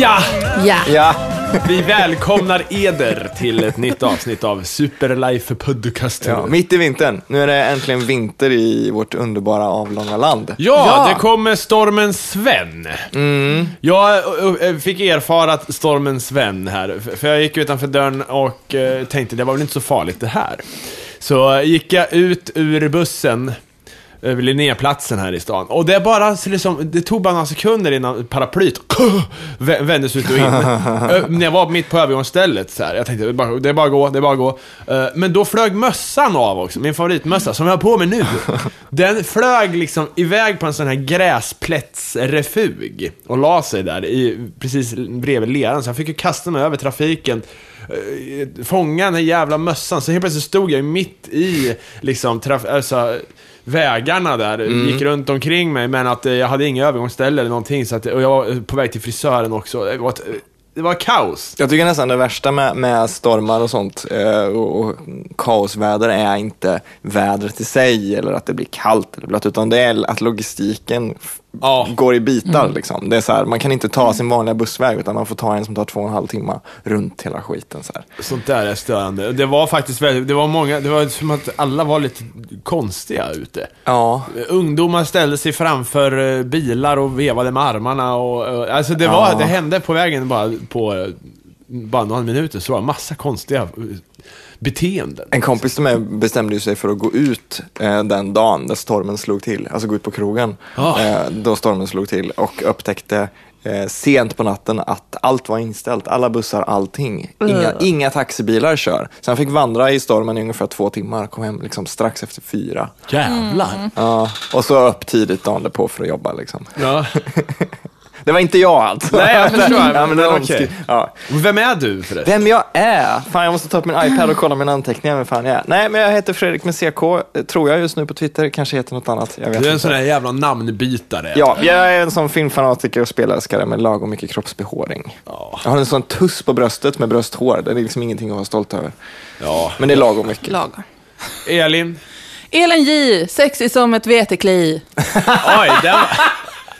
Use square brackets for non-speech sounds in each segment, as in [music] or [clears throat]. Ja. Ja. Vi välkomnar eder till ett nytt avsnitt av Superlife Podcast. ja, mitt i vintern. Nu är det äntligen vinter i vårt underbara avlånga land. Ja, Ja. det kommer stormen Sven. Jag eh, eh, fick erfara att stormen Sven här, f- för jag gick utanför dörren och eh, tänkte det var väl inte så farligt det här. Så eh, gick jag ut ur bussen över Linnéplatsen här i stan. Och det bara så liksom, det tog bara några sekunder innan paraplyet [clears throat] vä- vändes ut och in. Ö, När jag var mitt på övergångsstället så här, jag tänkte det är bara, det är bara att gå, det är bara att gå. Eh, Men då flög mössan av också, min favoritmössa som jag har på mig nu. Den flög liksom iväg på en sån här gräsplättsrefug och la sig där i, precis bredvid leran. Så jag fick ju kasta mig över trafiken eh, fånga den här jävla mössan. Så helt plötsligt stod jag ju mitt i liksom, traf- alltså, vägarna där. Gick runt omkring mig, men att eh, jag hade inga övergångsställe eller någonting. Så att, och jag var eh, på väg till frisören också. Det var, ett, det var kaos. Jag tycker nästan det värsta med, med stormar och sånt eh, och, och kaosväder är inte vädret i sig eller att det blir kallt eller blött, utan det är att logistiken f- Ja. går i bitar. Liksom. Det är så här, man kan inte ta sin vanliga bussväg utan man får ta en som tar två och en halv timme runt hela skiten. Så här. Sånt där är störande. Det var faktiskt väldigt, det var många, det var som att alla var lite konstiga ute. Ja, Ungdomar ställde sig framför eh, bilar och vevade med armarna och, eh, alltså det var, Ja. det hände på vägen bara på, eh, bara några minuter så var det massa konstiga eh, beteenden. En kompis till mig bestämde ju sig för att gå ut eh, den dagen där stormen slog till, alltså gå ut på krogen, Ah. eh, då stormen slog till och upptäckte eh, sent på natten att allt var inställt, alla bussar, allting. Inga, inga taxibilar kör. Så han fick vandra i stormen i ungefär två timmar, kom hem liksom strax efter fyra. Jävlar! Ja, och så upp tidigt dagen därpå för att jobba. Liksom. Ja. Det var inte jag alltså. Nej, jag förstår. [laughs] ja, men det var Men okej. omskri- ja. Vem är du förresten? Vem jag är? Fan, jag måste ta upp min iPad och kolla mina anteckningar. Vem fan jag är. Nej, men jag heter Fredrik med CK, eh, tror jag just nu på Twitter. Kanske heter något annat. Jag vet Du är en inte. sån där jävla namnbytare. Ja, jag är en sån filmfanatiker och spelälskare med lagom mycket kroppsbehåring. Ja. Jag har en sån tuss på bröstet med brösthår. Det är liksom ingenting att vara stolt över. ja. Men det är lagom mycket. Lagom. Elin? Elin J, sexig som [laughs] ett vetekli. Oj,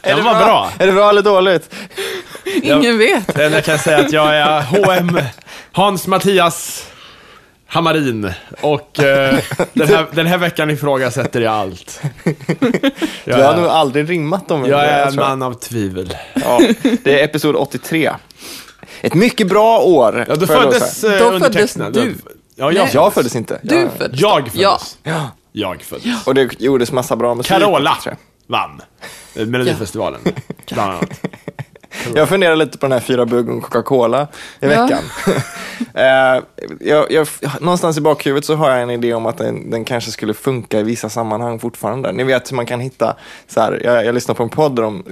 den var, den var bra. [laughs] Är det bra eller dåligt? Ingen vet. Den jag kan säga att jag är H.M. Hans Mattias Hammarin och eh, den, här, den här veckan ifrågasätter jag allt. Jag Du har nog är, aldrig rimmat dem. jag är en tror jag. man av tvivel. Ja, det är episod 83. Ett mycket bra år. Ja, du får jag lov att föddes säga. eh, Då föddes undertecknad. du. Ja, jag, Nej. Jag föddes inte. Du jag... föddes. jag Ja. föddes. Jag föddes. Och det gjordes massa bra musik. Carola Typ, tror jag. vann eh, Melodifestivalen, [laughs] bland annat. Jag funderar lite på den här fyra bugg och Coca-Cola i Ja. veckan. [laughs] Eh, jag, jag, någonstans i bakhuvudet så har jag en idé om att den, den kanske skulle funka i vissa sammanhang fortfarande. Ni vet hur man kan hitta, så här, jag, jag lyssnade på en podd där de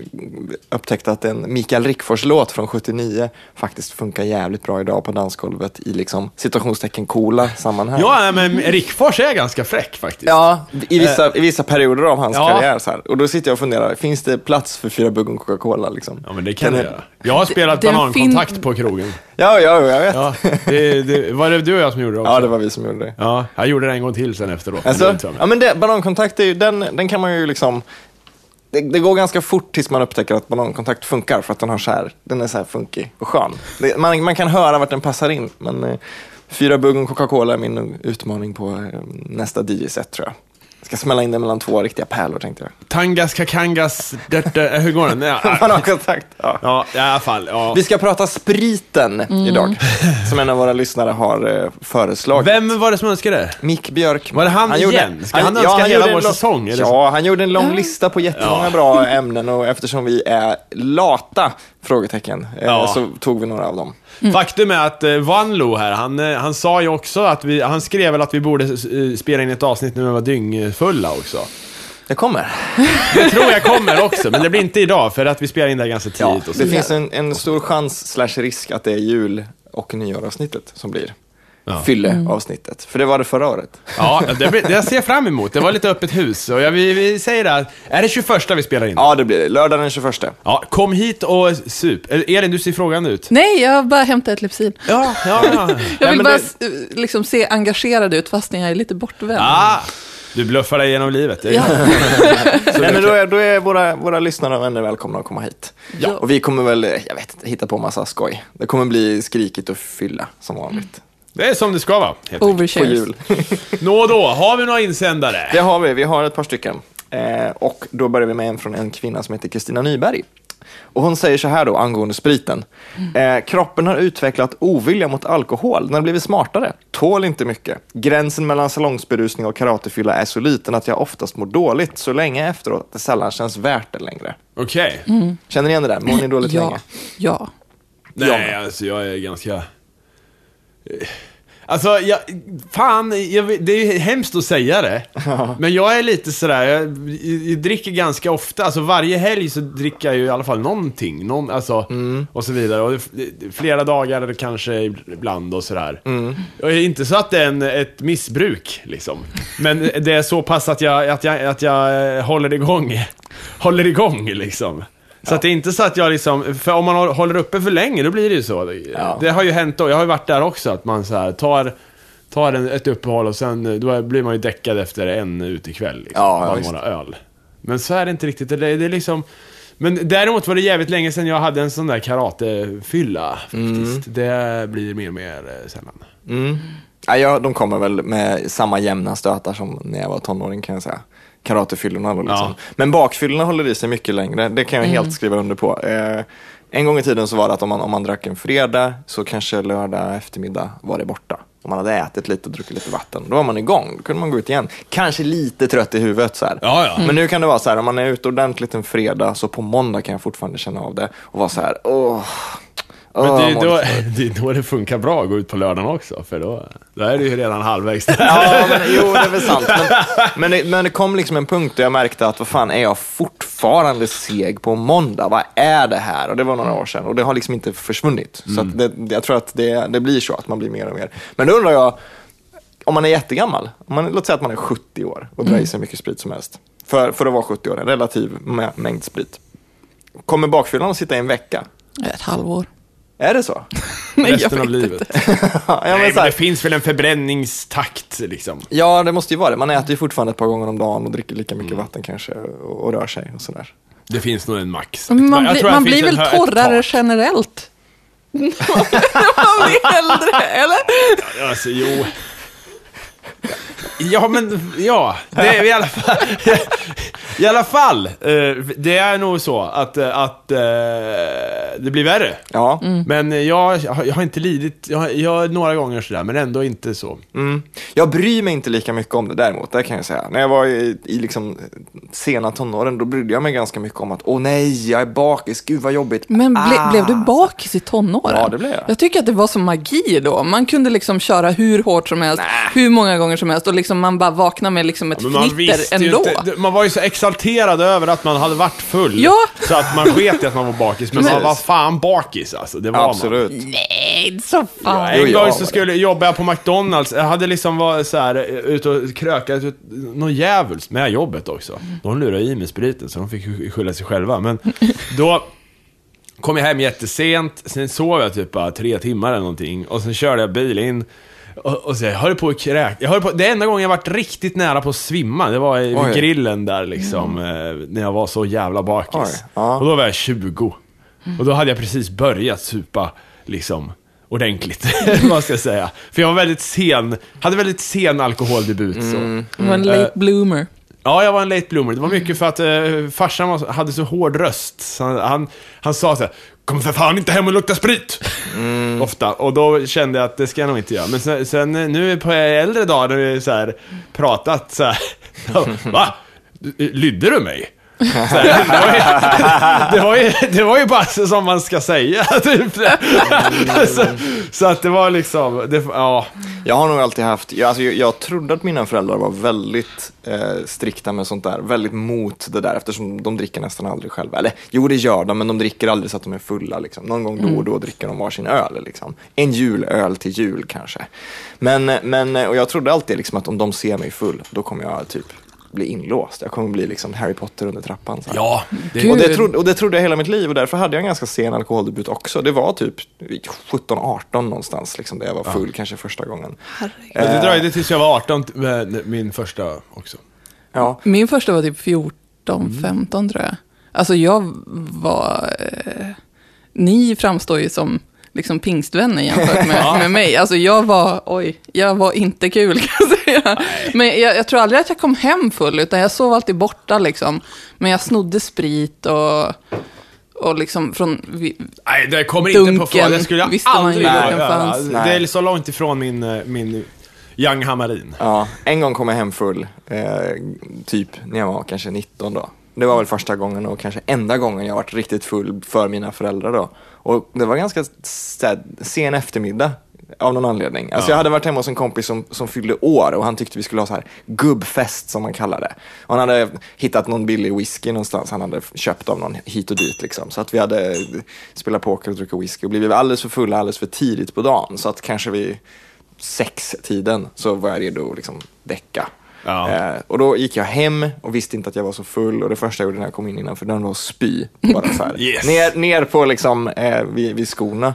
upptäckte att en Mikael Rickfors-låt från 79 faktiskt funkar jävligt bra idag på dansgolvet i liksom situationstecken coola sammanhang. Ja, nej, men Rickfors är ganska fräck faktiskt. Ja, i vissa, i vissa perioder av hans Ja. karriär. Så här. Och då sitter jag och funderar, finns det plats för fyra bugg och Coca-Cola? Liksom? Ja, men det kan Den jag är- göra. Jag har spelat den banankontakt fin- på krogen. Ja, ja, jag vet. Ja, det, det, var det du och jag som gjorde det också? Ja, det var vi som gjorde det. Alltså. Ja, jag gjorde det en gång till sen efteråt. men det Alltså, är inte ja, så- men det, banankontakt, är ju, den, den kan man ju liksom... Det, det går ganska fort tills man upptäcker att banankontakt funkar för att den, har så här, den är så här funkig och skön. Det, man, man kan höra vart den passar in. Men eh, fyra bugg och Coca-Cola är min utmaning på eh, nästa DJ-set tror jag. Jag ska smälla in det mellan två riktiga pärlor tänkte jag. Tangas, kakangas, dörte, eh, hur går den? [laughs] Ja, Banankontakt, ja. ja i alla fall. Ja. Vi ska prata spriten idag, som en av våra lyssnare har eh, föreslagit. Vem var det som önskade det? Mick Björk. Var det han igen? Ska han önska hela gjorde en vår lång- säsong, eller så? Ja, han gjorde en lång lista på jättemånga Ja. bra ämnen och eftersom vi är lata? Frågetecken. eh, Ja. Så tog vi några av dem. Faktum är att eh, Vanlo här, han, eh, han sa ju också att vi, han skrev väl att vi borde eh, spela in ett avsnitt när vi var dyngfulla också. Det kommer. Det tror jag kommer också, men det blir inte idag för att vi spelar in det här ganska tidigt. och så det vidare. finns en, en stor chans slash risk att det är jul och nyåravsnittet som blir Ja. fylleavsnittet. För det var det förra året. Ja, det, blir- det jag ser fram emot. Det var lite öppet hus. Och jag, vi, vi säger det här. Är det 21 vi spelar in? Ja, det blir det. Lördag den 21. Ja, kom hit och sup. Eh, Elin, du ser frågande ut. Nej, jag bara hämtar ett Lypsyl. Ja, ja, ja. Jag Nej, vill men bara eh, det- s- liksom se engagerad ut fastän jag är lite bortvänd. [laughs] Ah, Du bluffar dig genom livet. Det är- Ja. Nej, men då är, då är våra, våra lyssnare och vänner välkomna att komma hit. Ja. Och vi kommer väl, eh, jag vet inte, hitta på massa skoj. Det kommer bli skrikigt och fylla som vanligt. Det är som det ska vara, helt enkelt. På Overshares. jul. Nå då, har vi några insändare? Det har vi, vi har ett par stycken. Eh, och då börjar vi med en från en kvinna som heter Kristina Nyberg. Och hon säger så här då angående spriten. Eh, kroppen har utvecklat ovilja mot alkohol, den har blivit smartare, tål inte mycket. Gränsen mellan salongsberusning och karatefylla är så liten att jag oftast mår dåligt så länge efteråt att det sällan känns värt det längre. Okej. Känner ni igen det där? Mår ni dåligt Ja. länge? ja. Jag Nej, med. alltså jag är ganska... Eh, Alltså, jag, fan, jag, vet- det är ju hemskt att säga det. Men jag är lite sådär, jag, jag dricker ganska ofta, alltså varje helg så dricker jag ju i alla fall någonting, någon, alltså, och så vidare. Och det, det, flera dagar eller kanske ibland och sådär. Och det är inte så att det är en, ett missbruk, liksom. Men det är så pass att jag, att jag, att jag eh, håller igång, [laughs] håller igång liksom. Så att det är inte så att jag liksom, för om man hå- håller uppe för länge då blir det ju så. Ja. Det har ju hänt då, jag har ju varit där också, att man så här tar, tar en, ett uppehåll och sen eh, då är- blir man ju däckad efter en utekväll. Liksom, Ja, ja, bara visst. några öl. Men så är det inte riktigt, det är, det är liksom... Men däremot var det jävligt länge sedan jag hade en sån där karatefylla Mm. faktiskt. Det blir mer och mer eh, sällan. Mm. Ja, jag, de kommer väl med samma jämna stötar som när jag var tonåring kan jag säga. Karatefyllorna då liksom. Ja. Men bakfyllorna håller i sig mycket längre, det kan jag helt skriva under på. Eh, en gång i tiden så var det att om man, om man drack en fredag så kanske lördag eftermiddag var det borta. Om man hade ätit lite och druckit lite vatten, då var man igång, då kunde man gå ut igen. Kanske lite trött i huvudet så här. Ja, ja. Men nu kan det vara så här, om man är ute ordentligt en fredag så på måndag kan jag fortfarande känna av det och vara så här, åh. åh, Men det är, ju mår då, lite [laughs] det är då det funkar bra att gå ut på lördagen också, för då, då är du ju redan halvvägs där. Ja, men, jo, det är väl sant. Men, men, det, men det kom liksom en punkt där jag märkte att vad fan, är jag fortfarande seg på måndag? Vad är det här? Och det var några år sedan och det har liksom inte försvunnit. Så att det, det- jag tror att det, det blir så, att man blir mer och mer. Men då undrar jag, om man är jättegammal, om man, låt säga att man är 70 år och drar i sig mycket sprit som helst. För, för att vara 70 år, en relativ mä- mängd sprit. Kommer bakfyllan att sitta i en vecka? Ett halvår. Är det så? [laughs] [laughs] Nej, jag Resten av vet livet. inte. Ja, men Nej, så men här- det finns väl en förbränningstakt liksom. Ja, det måste ju vara det. Man äter ju fortfarande ett par gånger om dagen och dricker lika mycket vatten kanske och, och rör sig och sådär. Det finns nog en max. Men Jag Man, blir tror att man det finns blir väl ett hö- ett torrare tak. [laughs] generellt? [laughs] När man blir äldre, eller? Alltså, jo. Ja, men ja. [laughs] Det är i alla fall. I alla fall. eh, Det är nog så att, eh, att eh, det blir värre. Ja. Men jag, har- jag har inte lidit, jag, har- jag har några gånger sådär, men ändå inte så. Mm. Jag bryr mig inte lika mycket om det däremot, det kan jag säga. När jag var i, i liksom sena tonåren, då brydde jag mig ganska mycket om att åh nej, jag är bakis, gud vad jobbigt. Men ble, Ah. blev du bakis i tonåren? Ja, det blev jag. Jag tycker att det var som magi då. Man kunde liksom köra hur hårt som helst, hur många gånger som helst och liksom man bara vaknade med liksom ett Men man fnitter visste ju ändå. inte, man var ju så exalterad över att man hade varit full. Ja. Så att man sket i att man var bakis, men man Precis. var fan bakis alltså. Det var man. Absolut. Nej, så fan. Jo, en jag gång var så skulle, jobbade jag på McDonalds, jag hade liksom varit så här eh, ute och krökat ut någon djävuls med jobbet också. De lurade i mig spriten så de fick sk- skylla sig själva. Men då kom jag hem jättesent, sen sov jag typ bara tre timmar eller någonting och sen körde jag bil in och, och så jag höll på att kräk. Jag höll på, det enda gången jag varit riktigt nära på att svimma, det var i Oj. Mm. vid grillen där liksom, eh, när jag var så jävla bakis. Oj, ja. Och då var jag 20. Och då hade jag precis börjat supa, liksom, ordentligt. [laughs] vad ska jag säga. För jag var väldigt sen, hade väldigt sen alkoholdebut. Mm. Så. Du var en late bloomer. Ja, jag var en late bloomer. Det var mycket för att eh, farsan var, så- hade så hård röst. Så han, han, han sa så här, Kom för fan inte hem och lukta sprit! Ofta. Och då kände jag att det ska jag nog inte göra. Men sen, sen eh, nu på äldre dagar när vi så här, pratat så här. [laughs] Va? Lydde du mig? Så här, det, var ju, [laughs] det, var ju, det var ju bara så som man ska säga, [laughs] typ. så, så att det var liksom, det, ja. Jag har nog alltid haft, jag, alltså, jag, jag trodde att mina föräldrar var väldigt eh, strikta med sånt där, väldigt mot det där eftersom de dricker nästan aldrig själva. Eller jo, det gör de, men de dricker aldrig så att de är fulla. Liksom. Någon gång då och då dricker de varsin öl. Liksom. En julöl till jul kanske. Men, men, och jag trodde alltid liksom, att om de ser mig full, då kommer jag typ bli inlåst. Jag kommer bli liksom Harry Potter under trappan. Så här. Ja, det, Gud. Och det, trodde, och det trodde jag hela mitt liv och därför hade jag en ganska sen alkoholdebut också. Det var typ 17-18 någonstans, liksom, där jag var full kanske första gången. Herregud. men det dröjde tills jag var 18, t- med min första också. Ja, Min första var typ 14, 15 tror jag. Alltså jag var... Eh, ni framstår ju som liksom pingstvänner jämfört med, med mig. Alltså jag var, oj, jag var inte kul [laughs] kan jag säga. Men jag, jag tror aldrig att jag kom hem full, utan jag sov alltid borta liksom. Men jag snodde sprit och, och liksom från... vi- Nej, det kommer inte Dunken på fråga. Det skulle jag visste man aldrig ju göra. att den fanns. Det är så långt ifrån min, eh, min Young Hammarin. ja. En gång kom jag hem full, eh, typ när jag var kanske 19 då. Det var väl första gången och kanske enda gången jag varit riktigt full för mina föräldrar då. Och det var ganska så här, sen eftermiddag av någon anledning. Alltså Ja. jag hade varit hemma hos en kompis som, som fyllde år och han tyckte vi skulle ha så här gubbfest som man kallar det. Och han hade hittat någon billig whisky någonstans han hade köpt av någon hit och dit. Liksom. Så att vi hade spelat poker och druckit whisky och blivit alldeles för fulla alldeles för tidigt på dagen. Så att kanske vid sextiden så var jag redo att liksom däcka. Ja. Eh, och då gick jag hem och visste inte att jag var så full och det första jag gjorde när jag kom in innanför dörren var att spy. Bara så här. [laughs] Yes. ner, ner på liksom, eh, vid, vid skorna.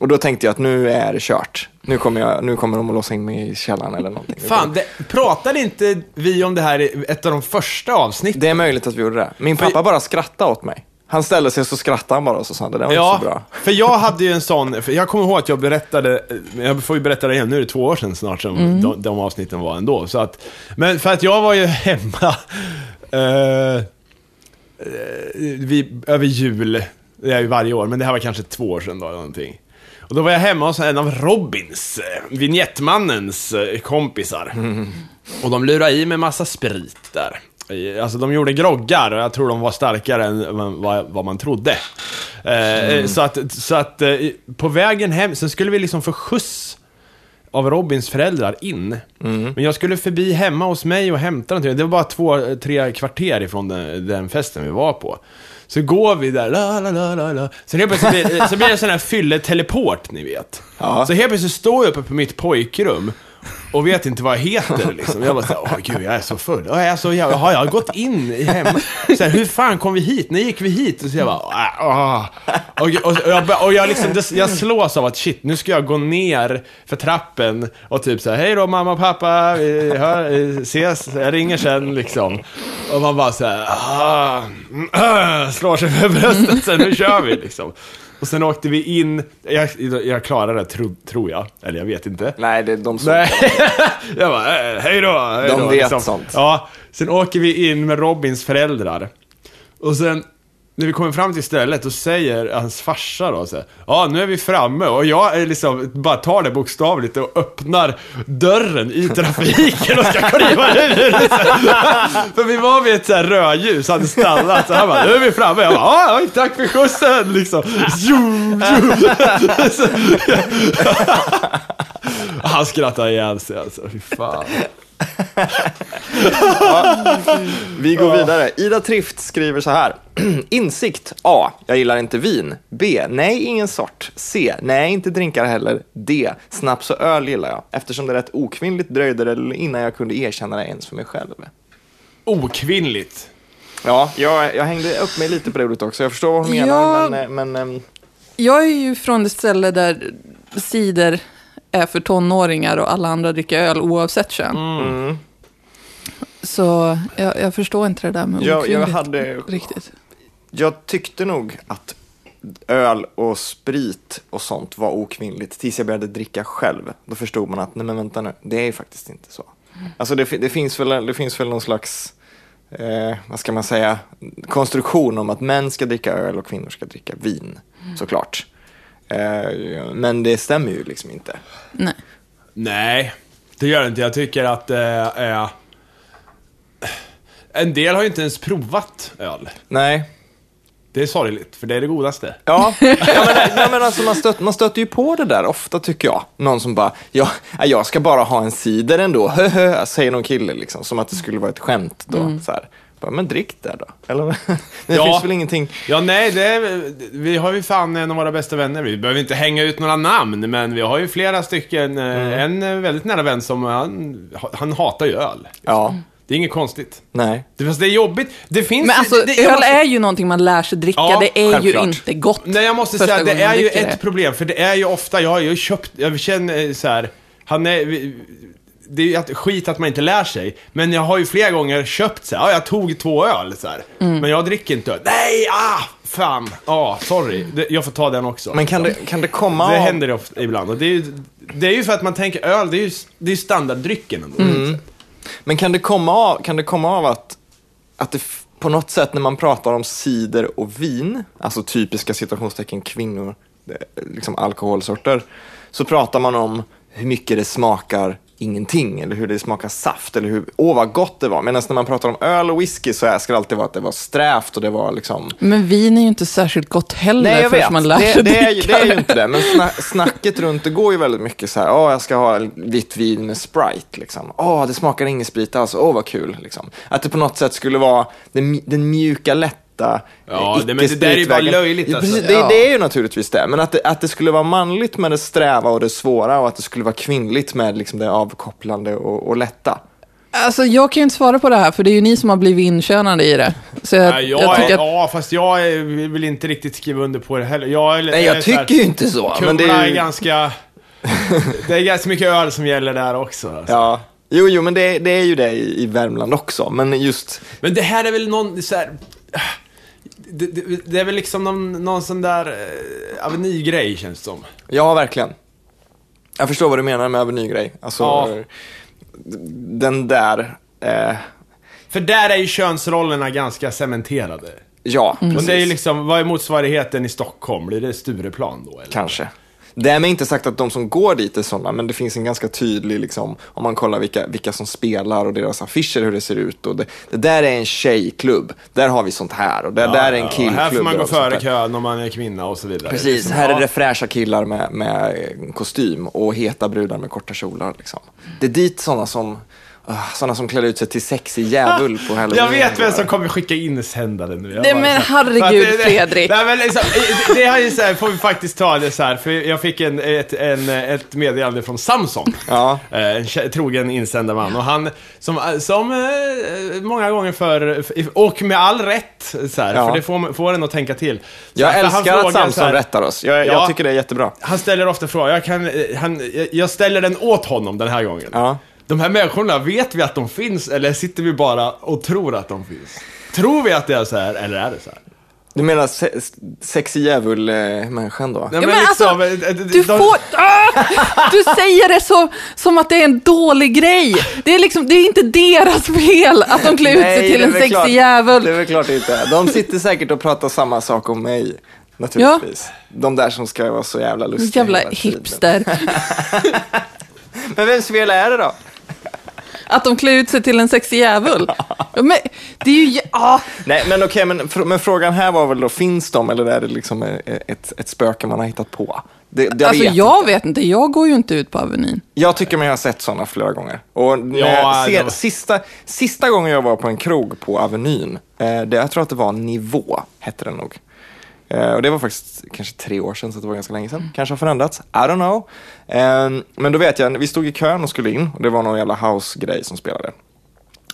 Och då tänkte jag att nu är det kört. Nu kommer, jag, nu kommer de att låsa in mig i källaren eller någonting. Fan, det, pratade inte vi om det här i ett av de första avsnitten? Det är möjligt att vi gjorde det. Min pappa bara skrattade åt mig. Han ställde sig och så skrattade han bara och så sa han, det där var inte så bra. för jag hade ju en sån, för jag kommer ihåg att jag berättade, jag får ju berätta det igen, nu är det två år sedan snart som Mm. de, de avsnitten var ändå. Så att, men för att jag var ju [laughs] hemma eh, eh, vid, över jul, det är ju varje år, men det här var kanske två år sedan då eller någonting. Och då var jag hemma hos en av Robins, eh, vignettmannens eh, kompisar. Mm. Och de lurade i med massa sprit där. I- Alltså de gjorde groggar och jag tror de var starkare än vad- vad, vad man trodde. Eh, eh, Så att, så att eh, på vägen hem, sen skulle vi liksom få skjuts av Robins föräldrar in. Men jag skulle förbi hemma hos mig och hämta någonting. Det var bara två, tre kvarter ifrån den, den festen vi var på. Så går vi där, la, la, la, la, la. Sen helt plötsligt blir, så blir det en sån här fylleteleport, ni vet. Ja. Så helt plötsligt står jag uppe på mitt pojkrum och vet inte vad jag heter liksom. Jag bara såhär, åh gud jag är så full. Jag är så jävla, har jag gått in i hemma? Så här, hur fan kom vi hit? När gick vi hit? Och så jag bara, "Ah, ah." och, och, och, jag, bara- och jag, liksom, det- jag slås av att shit, nu ska jag gå ner för trappen och typ såhär, hej då mamma och pappa, vi hör, vi ses, jag ringer sen liksom. Och man bara såhär, ah, mm, ah, [clears throat] slår sig för bröstet sen, nu kör vi liksom. Och sen åkte vi in, jag, jag klarade det tro, tror jag, eller jag vet inte. Nej, det, de såg Nej. [laughs] Jag bara, eh, hej då, hej De då. liksom- vet sånt. Ja, sen åker vi in med Robins föräldrar. Och sen, när vi kommer fram till stället, då säger hans farsa då så här, Ja, nu är vi framme. Och jag är liksom, bara tar det bokstavligt och öppnar dörren i trafiken och ska kliva ur. [laughs] För vi var vid ett så här rödljus, hade stannat. Så han bara, nu är vi framme. Jag bara, "Ja, oj, tack för skjutsen liksom. Jo, jo. [laughs] Så- [laughs] Han skrattar ihjäl sig alltså, fy fan. Vi går vidare. Ida Trift skriver så här. [clears throat] Insikt A. Jag gillar inte vin. B. Nej, ingen sort. C. Nej, inte drinkar heller. D. Snaps och öl gillar jag. Eftersom det rätt okvinnligt dröjde det innan jag kunde erkänna det ens för mig själv. Okvinnligt. Ja, jag, jag hängde upp mig lite på det ordet också. Jag förstår vad hon menar, Ja. men, eh, men, ehm, Jag är ju från det ställe där cider är för tonåringar och alla andra dricker öl oavsett kön. Mm. Så jag, jag förstår inte det där med Jag- jag okvinnligt hade- riktigt. jag tyckte nog att öl och sprit och sånt var okvinnligt tills jag började dricka själv. Då förstod man att, nej men vänta nu, det är ju faktiskt inte så. Alltså det, fi- det, finns, väl, det finns väl någon slags, eh, vad ska man säga, konstruktion om att män ska dricka öl och kvinnor ska dricka vin, såklart. Eh, men det stämmer ju liksom inte. Nej. Nej, det gör det inte. Jag tycker att... Eh, eh, en del har ju inte ens provat öl. Nej. Det är sorgligt, för det är det godaste. Ja, ja men, ja, men alltså man, stöt, man stöter ju på det där ofta tycker jag. Någon som bara, ja, nej, jag ska bara ha en cider ändå, [laughs] höhö, säger någon kille liksom. Som att det skulle vara ett skämt då. Så här. Bara, men drick där då. Eller, [laughs] det Ja. finns väl ingenting. Ja, nej, det är, vi har ju fan en av våra bästa vänner. Vi behöver inte hänga ut några namn, men vi har ju Mm. flera stycken. eh, En eh, väldigt nära vän som, han, han eh, hatar ju öl. Ja, Det är inget konstigt. Nej. Det, fast det är jobbigt. Det finns... Men alltså, det, det, jag öl måste- är ju någonting man lär sig dricka. Ja, det är självklart. ju inte gott. Nej, jag måste första säga att det gången är man ju dricker ett det. problem, för det är ju ofta, jag har ju köpt, jag känner eh, så här, han är, vi- det är ju att, skit att man inte lär sig, men jag har ju flera gånger köpt så här, ja, jag tog två öl så här, men jag dricker inte öl. Nej, ah, fan, ah, sorry, det, jag får ta den också. Men kan det, kan det komma Det av- händer ofta, ibland, och det är, ju, det är ju för att man tänker öl, det är ju, det är ju standarddrycken ändå. Men kan det komma av, kan det komma av att, att det f- på något sätt när man pratar om cider och vin, alltså typiska citationstecken kvinnor, eh, liksom alkoholsorter, så pratar man om hur mycket det smakar ingenting eller hur det smakar saft eller hur, åh vad gott det var. Medan när man pratar om öl och whisky så här ska det alltid vara att det var strävt och det var liksom Men vin är ju inte särskilt gott heller Nej, jag förrän vet. man lär det, sig det, är, ju- dricka det är ju inte det. Men sna snacket runt det går ju väldigt mycket så här, åh, jag ska ha vitt vin med Sprite, liksom. Åh, det smakar ingen sprit alls, åh, vad kul, liksom. Att det på något sätt skulle vara den, mj- den mjuka, lätta, Ja, eh, det- men det där är ju bara icke-spritvägen. löjligt, Ja, alltså. precis, det, Ja. det är ju naturligtvis det, men att det, att det skulle vara manligt med det sträva och det svåra och att det skulle vara kvinnligt med liksom, det avkopplande och, och lätta. Alltså jag kan ju inte svara på det här, för det är ju ni som har blivit inkönade i det. Så jag, Ja, jag, jag är, tycker att... ja, fast jag är, vill inte riktigt skriva under på det heller. Jag, är- Nej, är jag så här- tycker ju inte så, Kumla men det är, är ju... ganska... Det är ganska mycket öl som gäller där också. Alltså. Ja. Jo, jo, men det, det är ju det i, i Värmland också, men just... Men det här är väl någon så här, det, det, det är väl liksom någon, någon sån där eh, avenygrej känns det som. Ja, verkligen. Jag förstår vad du menar med avenygrej. Alltså, Ja. eh, den där... Eh, För där är ju könsrollerna ganska cementerade. ja, Och precis. det är ju liksom, vad är motsvarigheten i Stockholm? Blir det Stureplan då eller? Kanske. Därmed inte sagt att de som går dit är sådana, men det finns en ganska tydlig, liksom, om man kollar vilka, vilka som spelar och deras affischer, hur det ser ut. Och det, det där är en tjejklubb, där har vi sånt här och det där är en Ja, och killklubb. Här får man gå och sånt före där. kön om man är kvinna och så vidare. Precis, Liksom, här är ja. det fräscha killar med, med eh, kostym och heta brudar med korta kjolar. Liksom. Det är dit sådana som, ah, såna som klär ut sig till sexig djävul [laughs] på Halloween. Jag vet vem går. som kommer skicka insändare nu. Jag Nej, bara men så här- herregud, För att Fredrik. Nej, men liksom, det- det här är så här, får vi faktiskt ta det så här, för jag fick en, ett, en, ett meddelande från Samson. Ja. Eh, En kä- trogen insändarman. Och han, som, som eh, många gånger för och med all rätt, så här, Ja. för det får, får en att tänka till. Så Jag här, för han älskar frågar att så här- Samson rättar oss. Jag, Ja. jag tycker det är jättebra. Han ställer ofta frågan, jag, kan, eh, han, jag- jag ställer den åt honom den här gången. Ja. De här människorna, vet vi att de finns eller sitter vi bara och tror att de finns? Tror vi att det är så här eller är det så här? Du menar se sexig djävul-människan eh, då? Nej, Ja, men alltså, eh, eh, Du de- får... Ah! Du säger det så, som att det är en dålig grej. Det är, liksom, det är inte deras fel att de klär ut sig till det är en väl klart- sexig Det är djävul. väl klart inte. De sitter säkert och pratar samma sak om mig. Naturligtvis. De där som ska vara så jävla lustiga Jävla hela tiden. hipster. Men vems fel är det då? Att de klär ut sig till en sexig djävul. Ja, men det är ju... jä- Ah. Nej, men okej, men, fr- men frågan här var väl då, finns de eller är det liksom eh, ett, ett spöke man har hittat på? Det, det, jag, alltså vet. jag vet inte, jag går ju inte ut på Avenyn. jag tycker mig ha sett sådana flera gånger. Och när Ja, jag ser, det var- sista, sista gången jag var på en krog på Avenyn, eh, det, jag tror att det var Nivå, hette den nog. Eh, och det var faktiskt kanske tre år sedan, så det var ganska länge sedan. Mm. Kanske har förändrats, I don't know. Eh, men då vet jag, vi stod i kön och skulle in och det var någon jävla house-grej som spelade.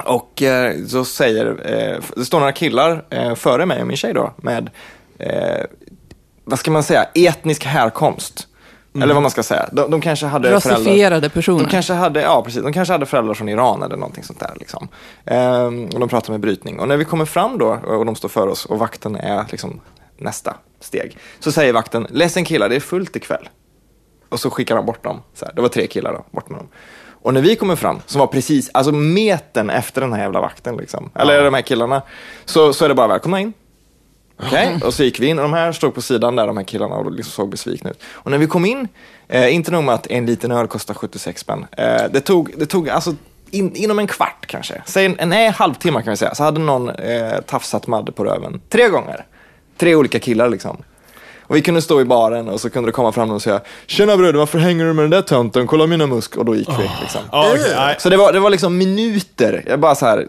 Och eh, så säger, eh, det står några killar eh, före mig och min tjej då med, eh, vad ska man säga, etnisk härkomst. Eller vad man ska säga. De, de kanske hade Rasifierade personer. De kanske hade, ja, precis, de kanske hade föräldrar från Iran eller någonting sånt där. Liksom. Ehm, och de pratar med brytning. Och när vi kommer fram då och de står för oss och vakten är liksom nästa steg. Så säger vakten, ledsen killar, det är fullt ikväll. Och så skickar han bort dem. Så här. Det var tre killar då, bort med dem. Och när vi kommer fram, som var precis, alltså metern efter den här jävla vakten, liksom, eller de här killarna, så, så är det bara välkomna in. Okej, och så gick vi in och de här stod på sidan där, de här killarna, och liksom såg besvikna ut. Och när vi kom in, eh, inte nog med att en liten öl kostar 76 spänn, eh, det tog, det tog alltså in, inom en kvart kanske, säg en, en, nej, en halvtimme kan vi säga, så hade någon eh, tafsat Madde på röven tre gånger. Tre olika killar liksom. Och vi kunde stå i baren och så kunde det komma fram någon och säga Tjena bröder, varför hänger du med den där tönten? Kolla mina musk. Och då gick vi. Liksom. Ja, Ah. okej, nej. Så det var, det var liksom minuter. Jag bara så här,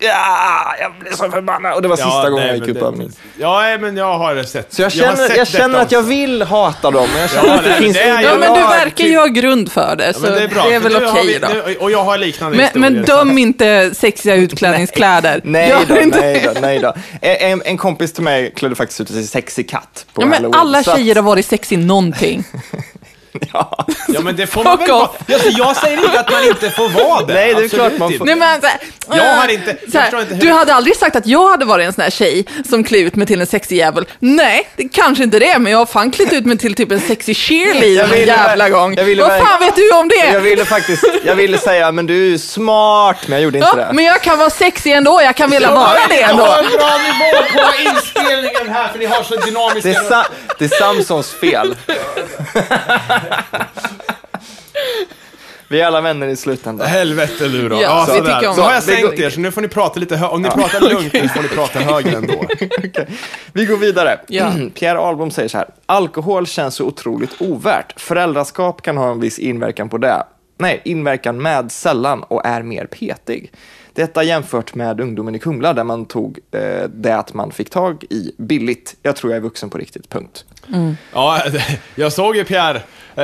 ja, jag blev så förbannad. Och det var sista Ja, gången nej, jag gick men ut det- på övning. Ja, nej, men jag har sett. Så jag har känner, sett jag känner detta att jag också. vill hata dem, men jag känner Ja, att det, nej, finns det är inget jag Ja, men du lag. verkar ju ha grund för det, så Men det är bra. för väl nu har okej vi- då. nu- Och jag har liknande Men, historier. men så att- döm inte sexiga utklädningskläder. Nej Gör då, inte nej det. då, nej då. En- En, en kompis till mig klädde faktiskt ut sig till sexig katt på Ja, men Halloween, alla så att- tjejer har varit sexy någonting. Ja. Ja, men det får man väl Fuck vara. off. Alltså, jag säger inte att man inte får vara det. Nej, det är Absolut klart man får. inte. Nej, men, så här, Jag har eh, inte- jag så här, förstår inte hur- du hade aldrig sagt att jag hade varit en sån här tjej som klär ut mig till en sexig jävel. Nej, det kanske inte det, men jag har fan klätt ut mig till typ en sexig Jag cheerleader en ville- jävla gång. jag ville Vad fan verkligen- vet du om Jag det? ville faktiskt, jag ville säga, men du är ju smart, men jag gjorde inte Ja, det. men jag kan vara sexig ändå, jag kan vilja vara det Jag ändå. har en bra nivå på inspelningen här för ni har så dynamiska... Det är, sa- det är Samsons [laughs] fel. Vi är alla vänner i slutändan. Helvete du då. Ja, vi sådär. tycker om så har jag det. sänkt er, så nu får ni prata lite högre. Om ni [laughs] pratar lugnt nu får ni prata högre ändå. Vi går vidare. Ja. [clears throat] Pierre Ahlbom säger så här. Alkohol känns så otroligt ovärt. Föräldraskap kan ha en viss inverkan på det. Nej, inverkan med sällan och är mer petig. Detta jämfört med ungdomen i Kumla där man tog eh, det att man fick tag i billigt. Jag tror jag är vuxen på riktigt, punkt. Ja, [laughs] jag såg ju Pierre. [laughs]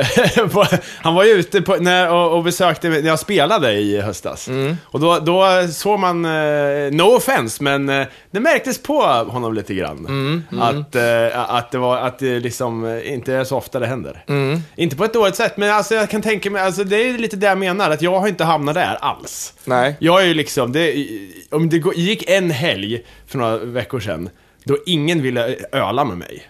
Han var ju ute på, när, och, och besökte mig när jag spelade i höstas. Mm. Och då, då såg man, eh, no offense, men eh, det märktes på honom lite grann. Mm, Att, eh, att det var, att det liksom eh, inte är så ofta det händer. Mm. Inte på ett dåligt sätt, men alltså jag kan tänka mig, alltså det är ju lite det jag menar, att jag har inte hamnat där alls. Nej. Jag är ju liksom, det, om det gå- gick en helg för några veckor sedan, då ingen ville öla med [laughs] mig.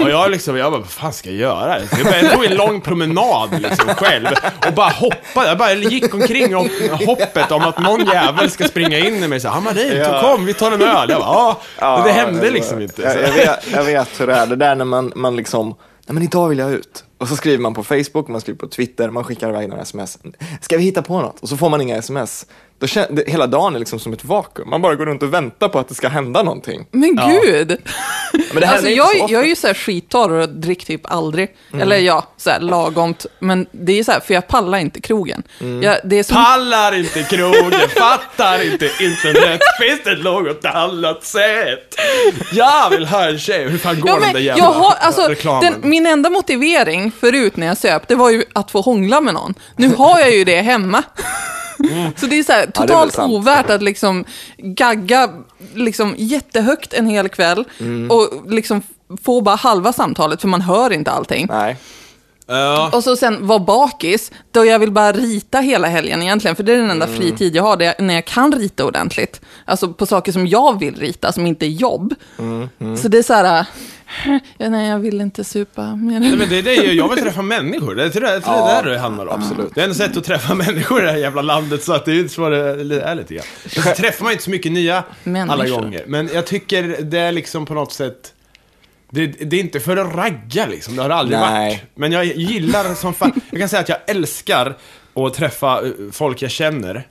Och jag liksom, jag bara, vad fan ska jag göra? Så Jag, bara, jag tog en lång promenad liksom själv och bara hoppade, jag bara gick omkring och hoppet om att någon jävel ska springa in i mig och säga, Hammarin, Ja. kom vi tar en öl. Jag bara, ja. Men det hände var- liksom inte. Jag, jag, Så. vet, jag vet hur det är. Det där när man, man liksom, nej men idag vill jag ut. Och så skriver man på Facebook, man skriver på Twitter, man skickar iväg några sms. Ska vi hitta på något? Och så får man inga sms. Då kän- det, hela dagen är liksom som ett vakuum. Man bara går runt och väntar på att det ska hända någonting. Men gud! Men det alltså, händer inte jag, så ofta. Mm. jag är ju så här skittorr och dricker typ aldrig. Eller ja, så här lagomt. Men det är ju så här, för jag pallar inte krogen. Mm. Jag, det är som, Pallar inte krogen, fattar inte internet, finns det något annat sätt? Jag vill ha en tjej, hur fan går ja, den där men, jävla jag har, alltså, reklamen? den, min enda motivering förut när jag söp, det var ju att få hångla med någon. Nu har jag ju det hemma. Mm. Så det är så här, väl totalt sant. ovärt att liksom gagga liksom jättehögt en hel kväll Mm. och liksom få bara halva samtalet för man hör inte allting. Nej. Ja. Och så sen vara bakis, då jag vill bara rita hela helgen egentligen, för det är den Mm. enda fritid jag har där jag, när jag kan rita ordentligt. Alltså på saker som jag vill rita, som inte är jobb. Mm, Så det är så här, äh, ja, nej jag vill inte supa mer. Nej, men det, det är ju, jag vill träffa människor, det är det, det, är där det handlar om. absolut. Det är en sätt att träffa [laughs] människor i det här jävla landet, så att det är ju så det är lite grann. Men så träffar man ju inte så mycket nya alla Människor. gånger. Men jag tycker det är liksom på något sätt, det, det är inte för att ragga liksom, det har det aldrig Nej. varit. Men jag gillar som fan, jag kan säga att jag älskar att träffa eh, folk jag känner.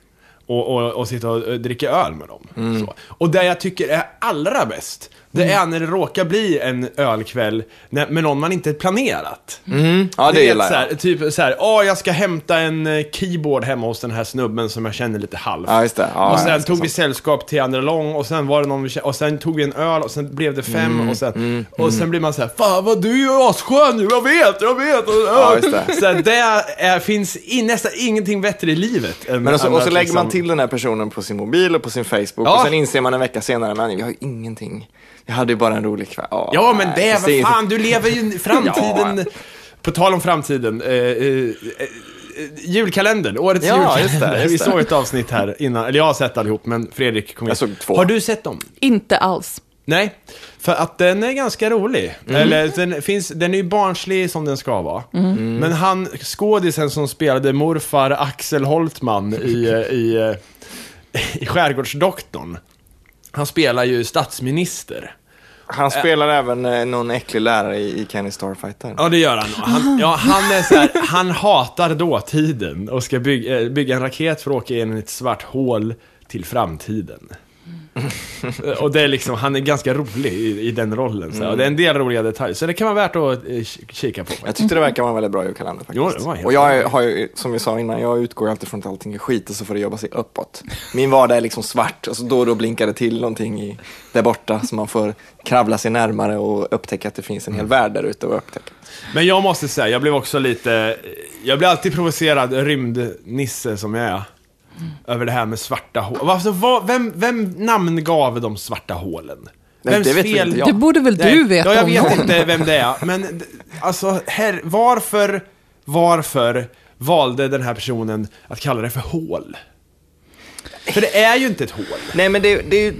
Och, och, och sitta och eh, dricka öl med dem. Mm. Så. Och det jag tycker är allra bäst, det är när det råkar bli en ölkväll när, med någon man inte planerat. Mm. Ja, det Ni vet, gillar så jag. här, Typ så här, åh jag ska hämta en eh, keyboard hemma hos den här snubben som jag känner lite halvt. Ja, just det. Ja, och sen ja, tog vi sällskap till andra lång och sen var det någon vi kände, och sen tog vi en öl och sen blev det fem Mm, och sen, och sen blir man så här, fan vad du är asskön nu, jag vet, jag vet. Och, Ja, just det. Så här, det är, finns in, nästan ingenting bättre i livet. Än, Men alltså, och så, än och att så lägger man liksom- till den här personen på sin mobil och på sin Facebook Ja. och sen inser man en vecka senare, men jag har ju ingenting. Jag hade ju bara en rolig kväll. Ja, men nej, det är precis. vad fan, du lever ju i [laughs] framtiden. På tal om framtiden. Eh, eh, eh, julkalendern, årets Ja, julkalender. just det, just Vi det. såg ett avsnitt här innan, eller jag har sett allihop, men Fredrik kom in. Jag såg två. Har du sett dem? Inte alls. Nej, för att den är ganska rolig. Eller, den, finns, den är ju barnslig som den ska vara. Men han, skådisen som spelade morfar Axel Holtman i, eh, i, eh, i Skärgårdsdoktorn, han spelar ju statsminister. Han spelar även eh, någon äcklig lärare i, i Kenny Starfighter. Ja, det gör han. Och han, ja, han, är så här, han hatar dåtiden och ska bygga, eh, bygga en raket för att åka in i ett svart hål till framtiden. Mm. [laughs] och det är liksom, han är ganska rolig i, i den rollen. Så. här. Och det är en del roliga detaljer, så det kan vara värt att eh, k- kika på. Jag tyckte det verkar vara en väldigt bra julkalender faktiskt. Jo, det var helt och jag är- har ju, som jag sa innan, jag utgår alltid från att allting är skit och så får det jobba sig uppåt. Min vardag är liksom svart och så då och då blinkar det till någonting i, där borta så man får kravla sig närmare och upptäcka att det finns Mm. en hel värld där ute att upptäcka. Men jag måste säga, jag blev också lite... Jag blir alltid provocerad, rymdnisse som jag är, Mm. över det här med svarta hål. Varför, vad, vem, vem namngav de svarta hålen? Nej, Vems det vet inte jag. Det borde väl Nej, du veta ja, jag om vet någon? inte vem det är. Men d- alltså, herr, varför, varför valde den här personen att kalla det för hål? För det är ju inte ett hål. Nej men det, det är ju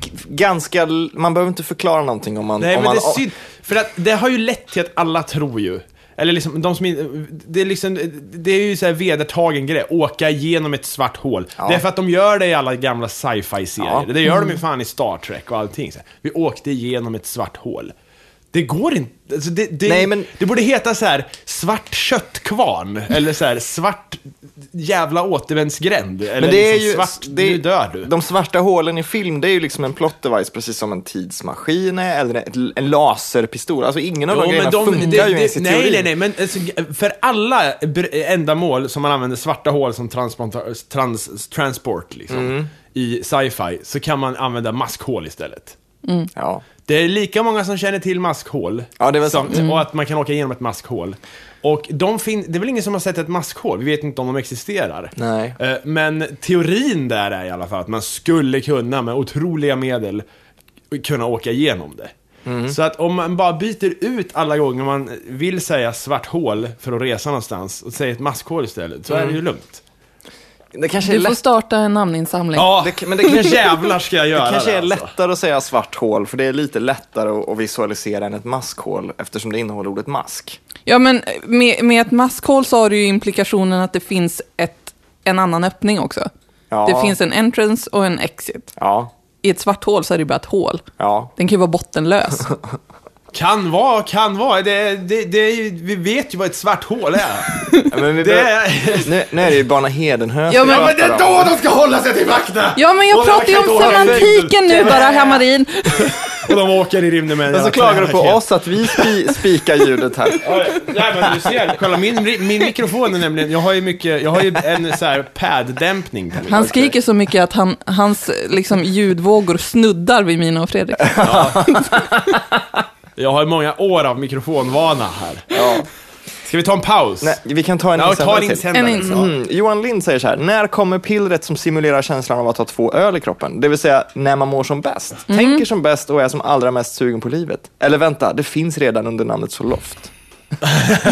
g- ganska, l- man behöver inte förklara någonting om man... Nej, om men man, det är synd. För att det har ju lett till att alla tror ju. Eller liksom, de som in- Det är liksom, det är ju så här vedertagen grej. Åka genom ett svart hål. Ja. Det är för att de gör det i alla gamla sci-fi-serier. Ja. Mm. Det gör de ju fan i Star Trek och allting. Så här, vi åkte genom ett svart hål. Det går inte. Alltså det, det, Nej, men- det borde heta så här svart köttkvarn. Eller så här svart jävla återvändsgränd. Eller Men det är liksom ju, svart, det, nu dör du. De svarta hålen i film, det är ju liksom en plot device, precis som en tidsmaskin är, eller ett, en laserpistol. Alltså ingen av de grejerna funkar det- ju det- ens i Nej, teorin. nej, nej, men alltså, för alla br- ändamål som man använder svarta hål som transport, trans, transport liksom, Mm. i sci-fi, så kan man använda maskhål istället. Ja. Det är lika många som känner till maskhål. Ja, det är väl som, sant. Mm. Och att man kan åka igenom ett maskhål. Och de fin- det är väl ingen som har sett ett maskhål, vi vet inte om de existerar. Nej. Eh, Men teorin där är i alla fall att man skulle kunna med otroliga medel kunna åka igenom det. Mm. Så att om man bara byter ut alla gånger man vill säga svart hål för att resa någonstans och säger ett maskhål istället, så är det Mm. ju lugnt. Det kanske är Du får lätt, starta en namninsamling. Ja, Det- men men [laughs] det det kanske- jävlar ska jag göra det kanske är alltså. lättare att säga svart hål, för det är lite lättare att, att visualisera än ett maskhål, eftersom det innehåller ordet mask. Ja, men med, med ett maskhål så har du ju implikationen att det finns ett, en annan öppning också. Ja. Det finns en entrance och en exit. Ja, I ett svart hål så är det ju bara ett hål. ja. Den kan ju [laughs] vara bottenlös. Kan vara, kan vara. Det, det, det, är ju- vi vet ju vad ett svart hål är. [laughs] Ja, Men vi Det- behöver- nu, nu är det ju Barna Hedenhös Ja, vi men- pratar om. de ska hålla sig till vakterna! Ja, men jag Och pratar ju de om kan gå semantiken nu bara, Hammarin. Och de åker i rymden med en Men så jävla klagar du på raket. oss att vi [laughs] spi, spikar ljudet här. Ja, Nej men du ser, kolla min, min mikrofon är nämligen, jag har ju mycket, jag har ju en så här pad-dämpning på min. Han skriker så mycket att han, hans liksom, ljudvågor snuddar vid mina och Fredrik. Jag har ju många år av mikrofonvana här. Ja. Ska vi ta en paus? Nej, vi kan ta en ja, ta insändare en till. insändare. En insändare. Ja. Mm. Johan Lind säger så här, när kommer pillret som simulerar känslan av att ha två öl i kroppen? Det vill säga när man mår som bäst, tänker som bäst och är som allra mest sugen på livet. Eller vänta, det finns redan under namnet Zoloft.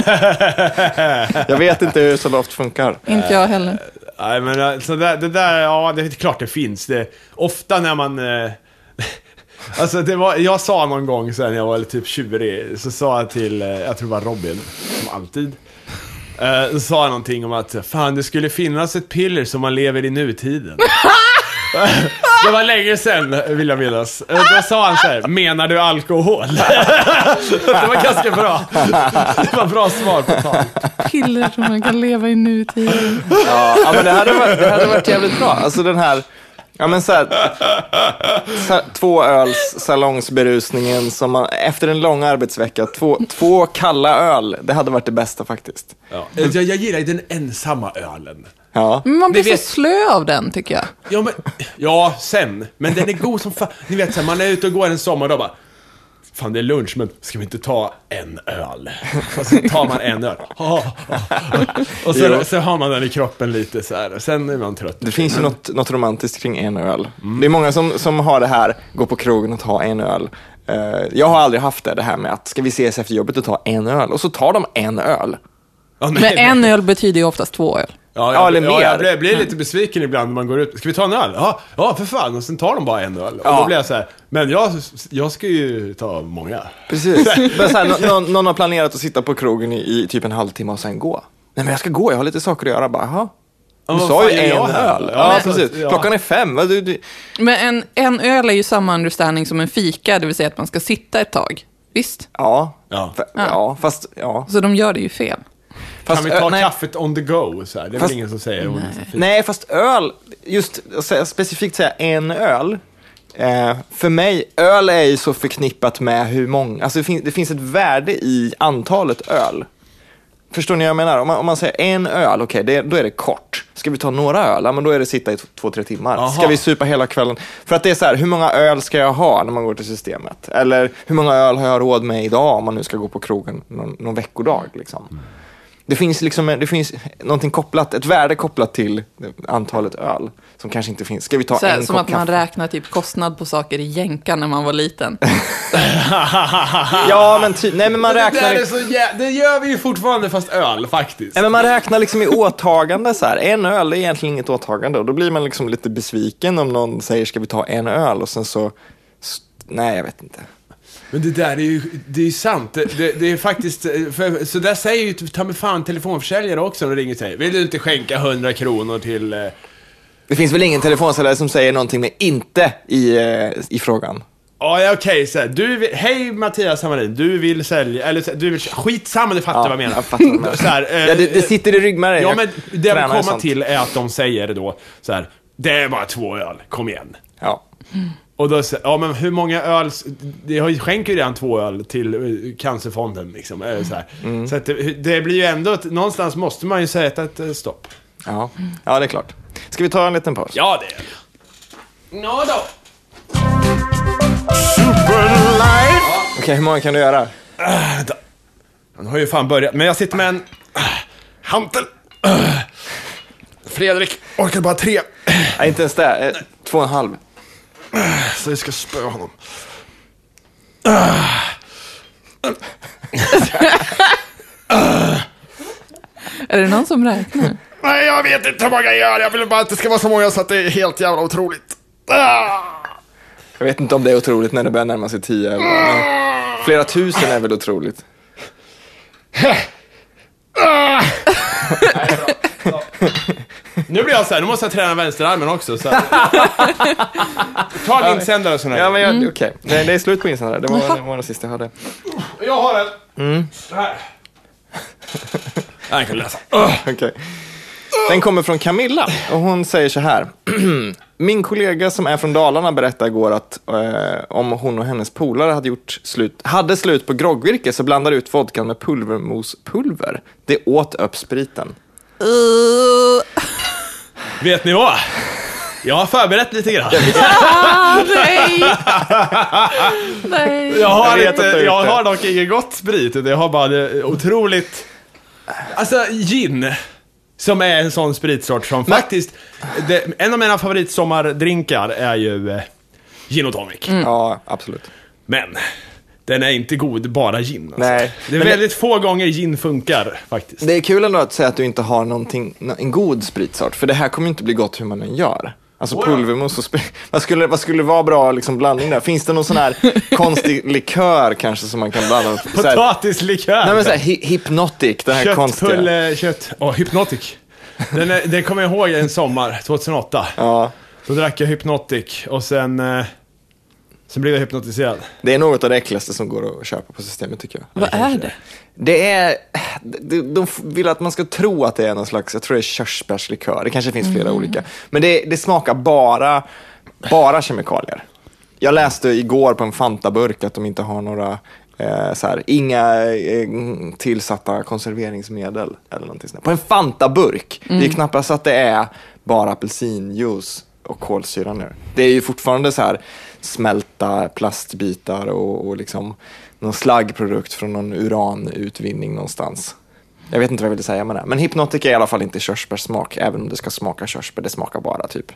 [laughs] jag vet inte hur Zoloft funkar. Inte jag heller. Nej men alltså, det, det där, ja det är klart det finns. Det, ofta när man... Eh, [laughs] alltså det var, jag sa någon gång sen när jag var typ 20 så sa jag till, eh, jag tror det var Robin, som alltid. Eh, så sa jag någonting om att fan det skulle finnas ett piller som man lever i nutiden. [laughs] Det var länge sen vill jag minnas. Eh, Då sa han så här, menar du alkohol? [laughs] Det var ganska bra. [laughs] Det var bra svar på tal. Piller som man kan leva i nutiden. Ja, ja, men det hade, varit, det hade varit jävligt bra. Alltså den här, ja men så här, så här två öls salongsberusningen som man, efter en lång arbetsvecka, två, två kalla öl, det hade varit det bästa faktiskt. Ja. Eh, Jag, jag gillar ju den ensamma ölen. Ja. Men man blir Det vet- så slö av den, tycker jag. Ja, men, ja, sen. Men den är god som fan. Ni vet, så här, man är ute och går en sommardag bara. Fan, det är lunch, men ska vi inte ta en öl? Och så tar man en [laughs] öl. Ah, ah. Och Jo. så, så har man den i kroppen lite så här. Sen är man trött. Det finns ju något, något romantiskt kring en öl. Det är många som, som har det här, gå på krogen och ta en öl. Eh, jag har aldrig haft det, det här med att ska vi ses efter jobbet och ta en öl? Och så tar de en öl. Ja, nej, Men nej. en öl betyder ju oftast två öl. Ja, Ja, eller ja, mer. jag blir, blir lite besviken ibland när man går ut. Ska vi ta en öl? Ja, ja för fan. Och sen tar de bara en öl. Och Ja. då blir jag så här. Men jag, jag ska ju ta många. Precis. [laughs] Men så här, nå- någon, någon har planerat att sitta på krogen i, i typ en halvtimme och sen gå. Nej men jag ska gå, jag har lite saker att göra. Bara, "Jaha. Ja, du vad sa fan ju gör en jag här? öl. Ja, Ja, så- precis. ja. Klockan är fem. Vad Du, du, Men en, en öl är ju samma understanding som en fika, det vill säga att man ska sitta ett tag. Visst? ja. Ja. F- ja, fast... Ja. Så de gör det ju fel. Fast, kan vi ta ö- nej. kaffet on the go? Så här? Det är [laughs] Fast- väl ingen som säger. "Åh, det är så fint." Nej, fast öl, just att säga- specifikt säga en öl, Eh, för mig, öl är ju så förknippat med hur många, alltså det, fin- det finns ett värde i antalet öl. Förstår ni vad jag menar? Om man, om man säger en öl, okej, det- då är det kort. Ska vi ta några öl? Ja, men då är det sitta i t- två, tre timmar. Aha. Ska vi supa hela kvällen? För att det är så här, hur många öl ska jag ha när man går till systemet? Eller hur många öl har jag råd med idag om man nu ska gå på krogen någon, någon veckodag? Liksom? Det finns, liksom, det finns någonting kopplat, ett värde kopplat till antalet öl som kanske inte finns. Ska vi ta Så här, en som kopp att man kaffe? räknar typ kostnad på saker i jänka när man var liten. Ja, men ty- nej, men [laughs] man det, där räknar... är så jä- det gör vi ju fortfarande fast öl faktiskt. Nej, men man räknar liksom i åtagande så här. En öl är egentligen inget åtagande och då blir man liksom lite besviken om någon säger ska vi ta en öl och sen så, s- nej jag vet inte. Men det där är ju, det är ju sant. Det, det, det är faktiskt, eh, för, så där säger ju ta mig fan telefonförsäljare också när de ringer sig. Vill du inte skänka 100 kronor till... eh, Det finns väl ingen telefonsäljare som säger någonting med inte i, eh, i frågan? Ja, ja, okej, så här, du vill, hej Mattias Hammarin, du vill sälja, eller så här, du vill, skitsamma, du fattar vad jag menar. jag fattar vad du [laughs] menar. Så här, eh, Ja, det, det sitter i ryggmärgen. Ja, Jag men det jag tränar vill komma sånt. till är att de säger då så här, det är bara två öl, kom igen. Ja. Och då säger, ja men hur många öl, det har ju- skänker ju redan två öl till eh, Cancerfonden liksom. eh, Så, här. så att det, det blir ju ändå, att, någonstans måste man ju säga ett, ett eh, stopp. Ja. ja, det är klart. Ska vi ta en liten paus? Ja, det är det. Nå då. Okej, hur många kan du göra? Han Äh, har ju fan börjat, men jag sitter med en ah, hantel. Ah. Fredrik orkar bara tre, äh, Nej, inte ens det. Eh, Två och en halv. så vi ska spöa honom. Är det någon som räknar? Nej, jag vet inte hur många jag gör, jag vill bara att det ska vara så många så att det är helt jävla otroligt. Ah. Jag vet inte om det är otroligt när det börjar närma sig tio. Eller, men flera tusen är väl otroligt? Nu blir jag så här, nu måste jag träna vänsterarmen också. [laughs] Så här. Ta en insändare och sådär. Ja, men jag, okej. Nej, Det är slut på insändare. Det var, det var det sista jag hörde. Jag har en. Mm. Här. Äh. Jag kan läsa. Okej. Den kommer från Camilla och hon säger så här. [clears throat] Min kollega som är från Dalarna berättade igår att eh, om hon och hennes polare hade, gjort slut, hade slut på groggvirke så blandade ut vodkan med pulvermospulver. Det åt upp spriten. Uh, Vet ni vad? Jag har förberett lite grann. ah, nej! [laughs] nej. Jag har, Jag vet inte, att du har jag gjort det. har dock ingen gott sprit, utan jag har bara det otroligt... Alltså, gin. Som är en sån spritsort som faktiskt... Det, en av mina favoritsommardrinkar är ju eh, gin och tonic. Ja, absolut. Men, den är inte god bara gin. Alltså. Nej. Det är Men det- väldigt få gånger gin funkar faktiskt. Det är kul ändå att säga att du inte har någonting, nå- en god spritsort, för det här kommer ju inte bli gott hur man än gör. Alltså Åh, ja. pulvermos och sprit. [laughs] Vad skulle, vad skulle vara bra liksom blandning där? Finns det någon sån här konstig likör kanske som man kan blanda? Så här- Potatislikör! Nej men såhär, hi- hypnotic, den här konstiga. Köttbulle, kött... Åh, Hypnotic. Den, är, den kommer jag ihåg en sommar, 2008. Ja, Då drack jag Hypnotic och sen... eh, Sen blev jag hypnotiserad. det är något av det äckligaste som går att köpa på systemet tycker jag. Vad är det? Det är, de, de vill att man ska tro att det är någon slags, jag tror det är körsbärslikör, det kanske finns flera olika. Men det, det smakar bara, bara kemikalier. Jag läste igår på en Fanta-burk att de inte har några, eh, så här, inga eh, tillsatta konserveringsmedel eller någonting sånt. där. På en Fanta-burk, det är knappast att det är bara apelsinjuice och kolsyra nu. Det är ju fortfarande så här smälta plastbitar och, och liksom någon slaggprodukt från någon uranutvinning någonstans. Jag vet inte vad jag ville säga med det. Men hypnotic är i alla fall inte körsbärssmak, även om det ska smaka körsbär. Det smakar bara typ,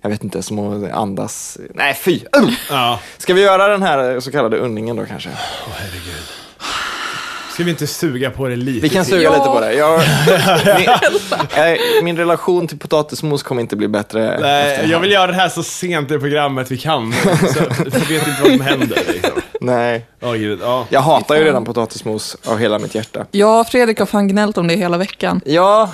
jag vet inte, som att andas. Nej, fy! Ugh! Ja. Ska vi göra den här så kallade unningen då kanske? Ska vi inte suga på det lite Vi kan till? suga Ja. lite på det. Jag, min, eh, min relation till potatismos kommer inte bli bättre. efter det Nej, här. jag vill göra det här så sent i programmet vi kan. Så, för jag vet inte vad som händer. Liksom. Nej. Ja, gud. Ja. Jag hatar ju redan potatismos av hela mitt hjärta. Ja, Fredrik har fan gnällt om det hela veckan. Ja,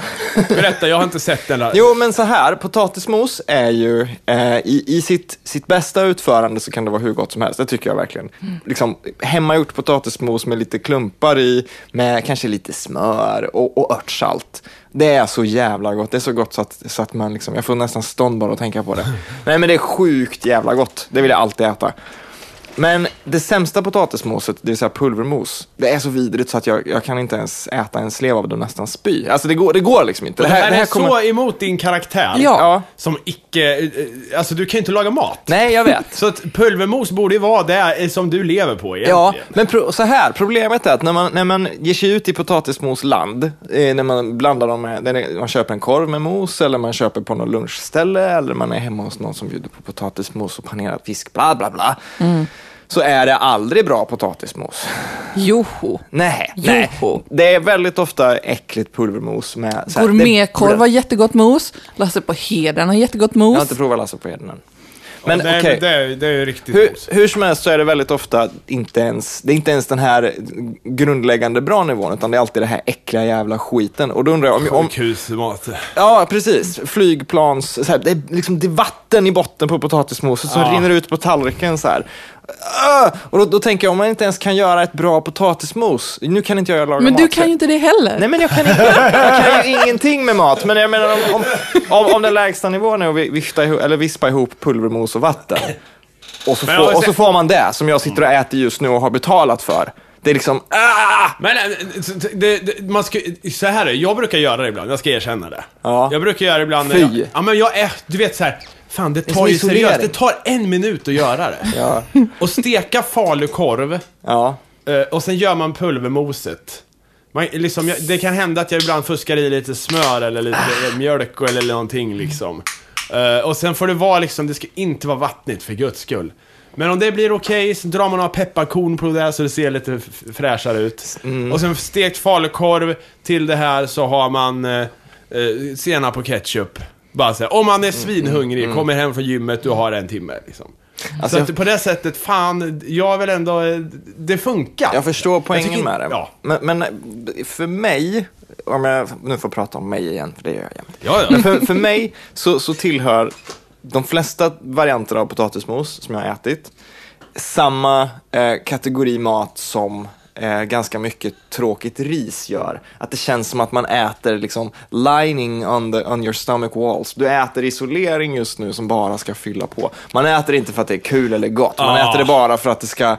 Berätta, jag har inte sett den där. Jo, men så här, potatismos är ju, eh, i, i sitt, sitt bästa utförande så kan det vara hur gott som helst, det tycker jag verkligen. Liksom, hemmagjort potatismos med lite klumpar i, med kanske lite smör och, och örtsalt. Det är så jävla gott, det är så gott så att, så att man liksom, jag får nästan stånd bara att tänka på det. Nej men det är sjukt jävla gott, det vill jag alltid äta. Men det sämsta potatismoset, det vill säga pulvermos, det är så vidrigt så att jag, jag kan inte ens äta en slev av det och nästan spy. Alltså det går, det går liksom inte. Det här, är så emot din karaktär. Ja. Ja. Som icke... eh, Alltså, du kan ju inte laga mat. Nej, [laughs] jag vet. Så att pulvermos borde ju vara det eh, som du lever på egentligen. Ja, men pro- så här, problemet är att när man, när man ger sig ut i potatismosland, eh, när man blandar dem med, när man köper en korv med mos eller man köper på något lunchställe eller man är hemma hos någon som bjuder på potatismos och panerad fisk, bla bla bla, Mm. så är det aldrig bra potatismos. [laughs] Joho. Nej, Jo. nej. Det är väldigt ofta äckligt pulvermos med... så här- Gourmetkorv det- har jättegott mos. Lasse på Heden har jättegott Jag mos. har inte provat Lasse på Heden än. Men Nej, okej. men det, är- det är ju riktigt Hur, mos. hur som helst så är det väldigt ofta inte ens, det är inte ens den här grundläggande bra nivån, utan det är alltid det här äckliga jävla skiten. Och då undrar jag om... om Sjukhusmat. ja, precis. Flygplans... Så här, det, är liksom, det är vatten i botten på potatismoset som Ja. rinner ut på tallriken så här. Ah! Och då, då tänker jag, om man inte ens kan göra ett bra potatismos, nu kan inte jag laga Men mat. du kan ju inte det heller. Nej men jag kan, inte, jag kan ju ingenting med mat, men jag menar om, om, om, om den lägsta nivån är att vi- vifta ihop, eller vispa ihop pulvermos och vatten. Och så, Men jag har får, och så sett- får man det som jag sitter och äter just nu och har betalat för. Det är liksom, ah! Men eh, så- det, det, man ska, så här är det, jag brukar göra det ibland, jag ska erkänna det. Ja. Jag brukar göra det ibland när Fy. jag, ja, men jag är, du vet så här, fan det som tar ju isolering. seriöst, det tar en minut att göra det. Ja. Och steka falukorv, Ja. eh, och sen gör man pulvermoset. Man, liksom, jag, det kan hända att jag ibland fuskar i lite smör eller lite eh, mjölk eller någonting liksom. Eh, och sen får det vara liksom, det ska inte vara vattnigt för guds skull. Men om det blir okej, så drar man några pepparkorn på det här så det ser lite f- fräschare ut. Och sen stekt falukorv, till det här så har man eh, eh, senap och ketchup. Bara så här, om man är svinhungrig, kommer hem från gymmet, du har en timme liksom. Alltså, så att jag- på det sättet, fan, jag vill ändå, eh, det funkar. Jag förstår poängen tycker- med det. Ja. Men, men för mig, om jag nu får prata om mig igen, för det gör jag jämt. Ja, ja. Men för, för mig så, så tillhör de flesta varianter av potatismos som jag har ätit samma eh, kategori mat som eh, ganska mycket tråkigt ris gör. Att det känns som att man äter liksom lining on, the, on your stomach walls. Du äter isolering just nu som bara ska fylla på. Man äter inte för att det är kul eller gott, man Ah. äter det bara för att det ska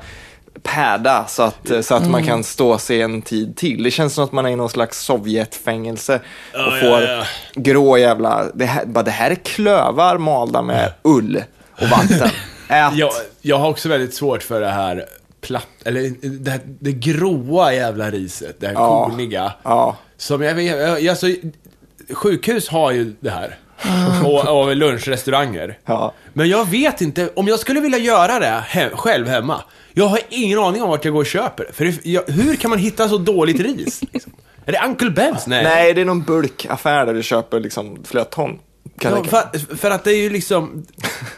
päda så att, eh, så att man kan stå sig en tid till. Det känns som att man är i någon slags Sovjetfängelse och Ah, Ja, ja, får ja. grå jävla... Det här, bara, det här är klövar malda med ull och [laughs] vatten. Ät. Jag, jag har också väldigt svårt för det här platt, eller det, här, det gråa jävla riset, det här Ja. korniga. Ja. Som jag, vet- jag, jag, alltså, sjukhus har ju det här. Och, och lunchrestauranger. Ja. Men jag vet inte, om jag skulle vilja göra det he- själv hemma, jag har ingen aning om vart jag går och köper det. För det, jag, hur kan man hitta så dåligt ris? Liksom? Är det Uncle Ben's? Nej. Nej, det är någon burkaffär där du köper liksom flera ton. Kan Ja, jag tänka. för, för att det är ju liksom,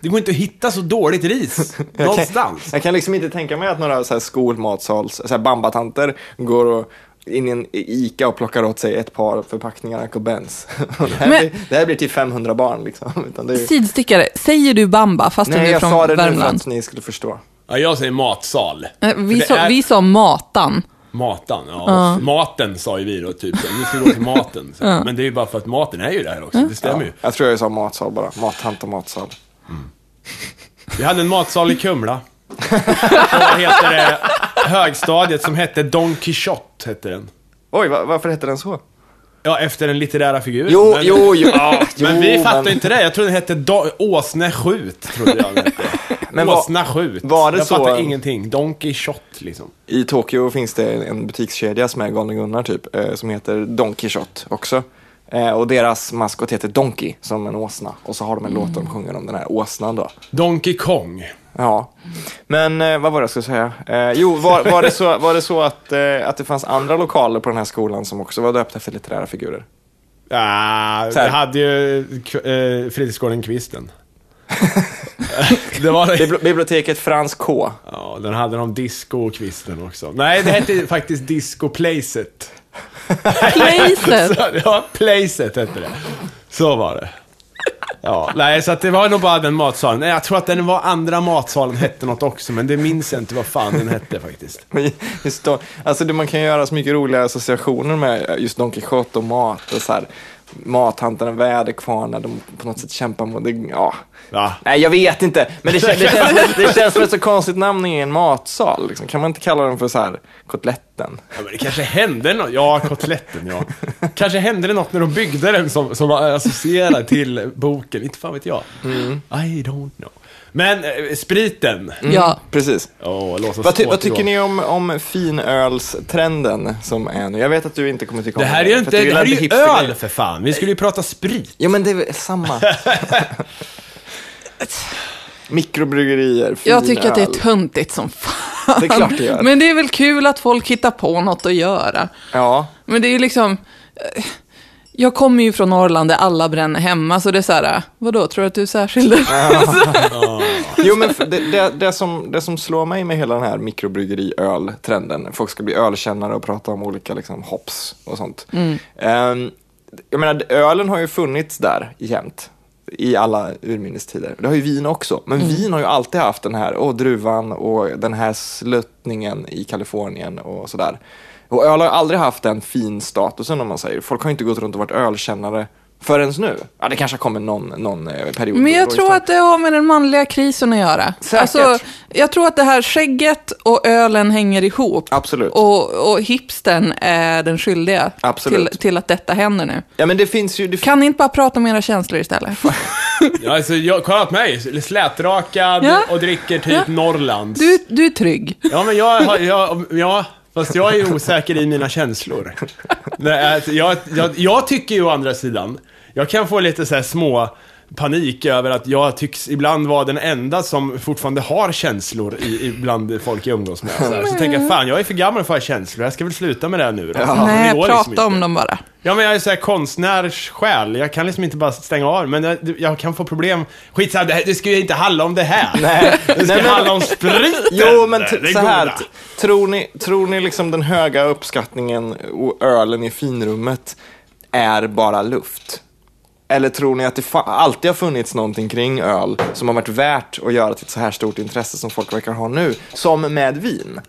det går inte att hitta så dåligt [laughs] ris jag, kan, någonstans. jag kan liksom inte tänka mig att några så här skolmatsals, så här bambatanter går och in i en Ica och plockar åt sig ett par förpackningar Uncle Bens. [laughs] Det, här Men- blir- det här blir till 500 barn liksom. [laughs] Utan det är, Sidstickare, säger du bamba fast du nej, är jag från sa det nu för Värmland? att ni skulle förstå. Ja, jag säger matsal. Nej, Eh, Vi det sa, är- vi sa matan. Matan, ja. Maten sa ju vi då, typ. så. Nu ska vi gå till maten. Så. Men det är ju bara för att maten är ju där också, det stämmer Mm. ju. Jag tror jag sa matsal bara. Mattant och matsal. Vi hade en matsal i [laughs] Kumla. Vad heter det? Högstadiet som hette Don Quixote, hette den. Oj, va- varför hette den så? Ja, efter den litterära figuren. Jo, men, jo, jo. Ja, men vi Jo, fattade men- inte det. Jag trodde den hette Do- Åsne skjut, trodde jag. den hette. [laughs] Men var- Åsna skjut. var det jag så- fattade ingenting. Don Quixote, liksom. I Tokyo finns det en butikskedja som är Galne Gunnar typ, eh, som heter Don Quixote också. Eh, och deras maskot heter Donkey, som en åsna. Och så har de en låt Mm. där de sjunger om den här åsnan då. Donkey Kong. Ja, men eh, vad var det jag skulle säga? Eh, jo, var, var det så, var det så att, eh, att det fanns andra lokaler på den här skolan som också var döpta efter [laughs] litterära figurer? Ah, Så här. [laughs] det hade ju eh, fritidsgården Kvisten. Det var det. Bibli- Biblioteket Frans K. Ja, den hade de disco-kvisten också. Nej, det hette faktiskt disco-placet. Placet! Så, [laughs] ja, Placet hette det. Så var det. Ja, nej, så att det var nog bara den matsalen. Nej, jag tror att den var andra matsalen hette något också, men det minns jag inte vad fan den hette faktiskt. Men [laughs] Just då, alltså det, man kan göra så mycket roliga associationer med just Don Quijote och mat. Och så här, mathantarna, väderkvarnar, de på något sätt kämpar mot... Det, ja. Va? Nej, jag vet inte. Men det, kän- det, [laughs] känns, det känns som ett så konstigt namn i en matsal. Liksom. Kan man inte kalla den för så här, kotletten? Ja, men det kanske hände något. Ja, kotletten ja. Kanske hände det något när de byggde den som, som var associerad till boken. Inte fan vet jag. Mm. I don't know. Men eh, spriten. Ja, Precis. Åh, låt oss Vad, ty, vad återgå. tycker ni om, om finölstrenden som är nu? Jag vet att du inte kommer tycka om Det här är ju för att inte, du det gillar här är ju hipstergrejer. öl för fan. Vi skulle ju prata sprit. Jo, men det är [laughs] väl samma. [laughs] Mikrobryggerier, fin jag tycker att det är öl. töntigt som fan. Det är klart det gör. Men det är väl kul att folk hittar på något att göra. Ja, Men det är ju liksom... eh, Jag kommer ju från Norrland där alla bränner hemma, så det är så här, eh, vadå, tror du att du är särskild? jo men f- det, det, det, som, det som slår mig med hela den här mikrobryggeri-öl-trenden, folk ska bli ölkännare och prata om olika liksom, hops och sånt. Mm. Ehm, jag menar, ölen har ju funnits där jämt i alla urminnes tider. Det har ju vin också, men Mm. vin har ju alltid haft den här åh, druvan och den här sluttningen i Kalifornien och sådär. Och öl har ju aldrig haft den fin statusen om man säger. Folk har ju inte gått runt och varit ölkännare förrän nu. Ja, det kanske kommer någon, någon eh, period. Men jag då, tror att det har med den manliga krisen att göra. Alltså, Säkert. jag tror att det här skägget och ölen hänger ihop. Absolut. Och, och hipstern är den skyldiga Absolut. till, till att detta händer nu. Ja, men det finns ju... Det Kan ni inte bara prata om era känslor istället? Ja, alltså, jag, kolla på mig. Slätrakad Ja. och dricker typ Ja. Norrlands. [laughs] Du, du är trygg. Ja, men jag, har- jag, ja, fast jag är ju osäker i mina känslor. Nej, alltså, jag, jag, jag tycker ju å andra sidan, jag kan få lite så här små panik över att jag tycks ibland vara den enda som fortfarande har känslor i, i bland folk jag umgås med. Så, här. så tänker jag, fan jag är för gammal för att ha känslor, jag ska väl sluta med det här nu då. Det Nej, går liksom prata inte. om dem bara. Ja, men jag är så här konstnärssjäl. Jag kan liksom inte bara stänga av men jag, jag kan få problem. Skitsamma, det, här- det ska ju inte handla om det här. [laughs] Nej. Det ska Nej, men- handla om spriten. Jo, men t- det så här. goda. t- Tror ni, tror ni liksom den höga uppskattningen och ölen i finrummet är bara luft? Eller tror ni att det fa- alltid har funnits någonting kring öl som har varit värt att göra till ett så här stort intresse som folk verkar ha nu? Som med vin.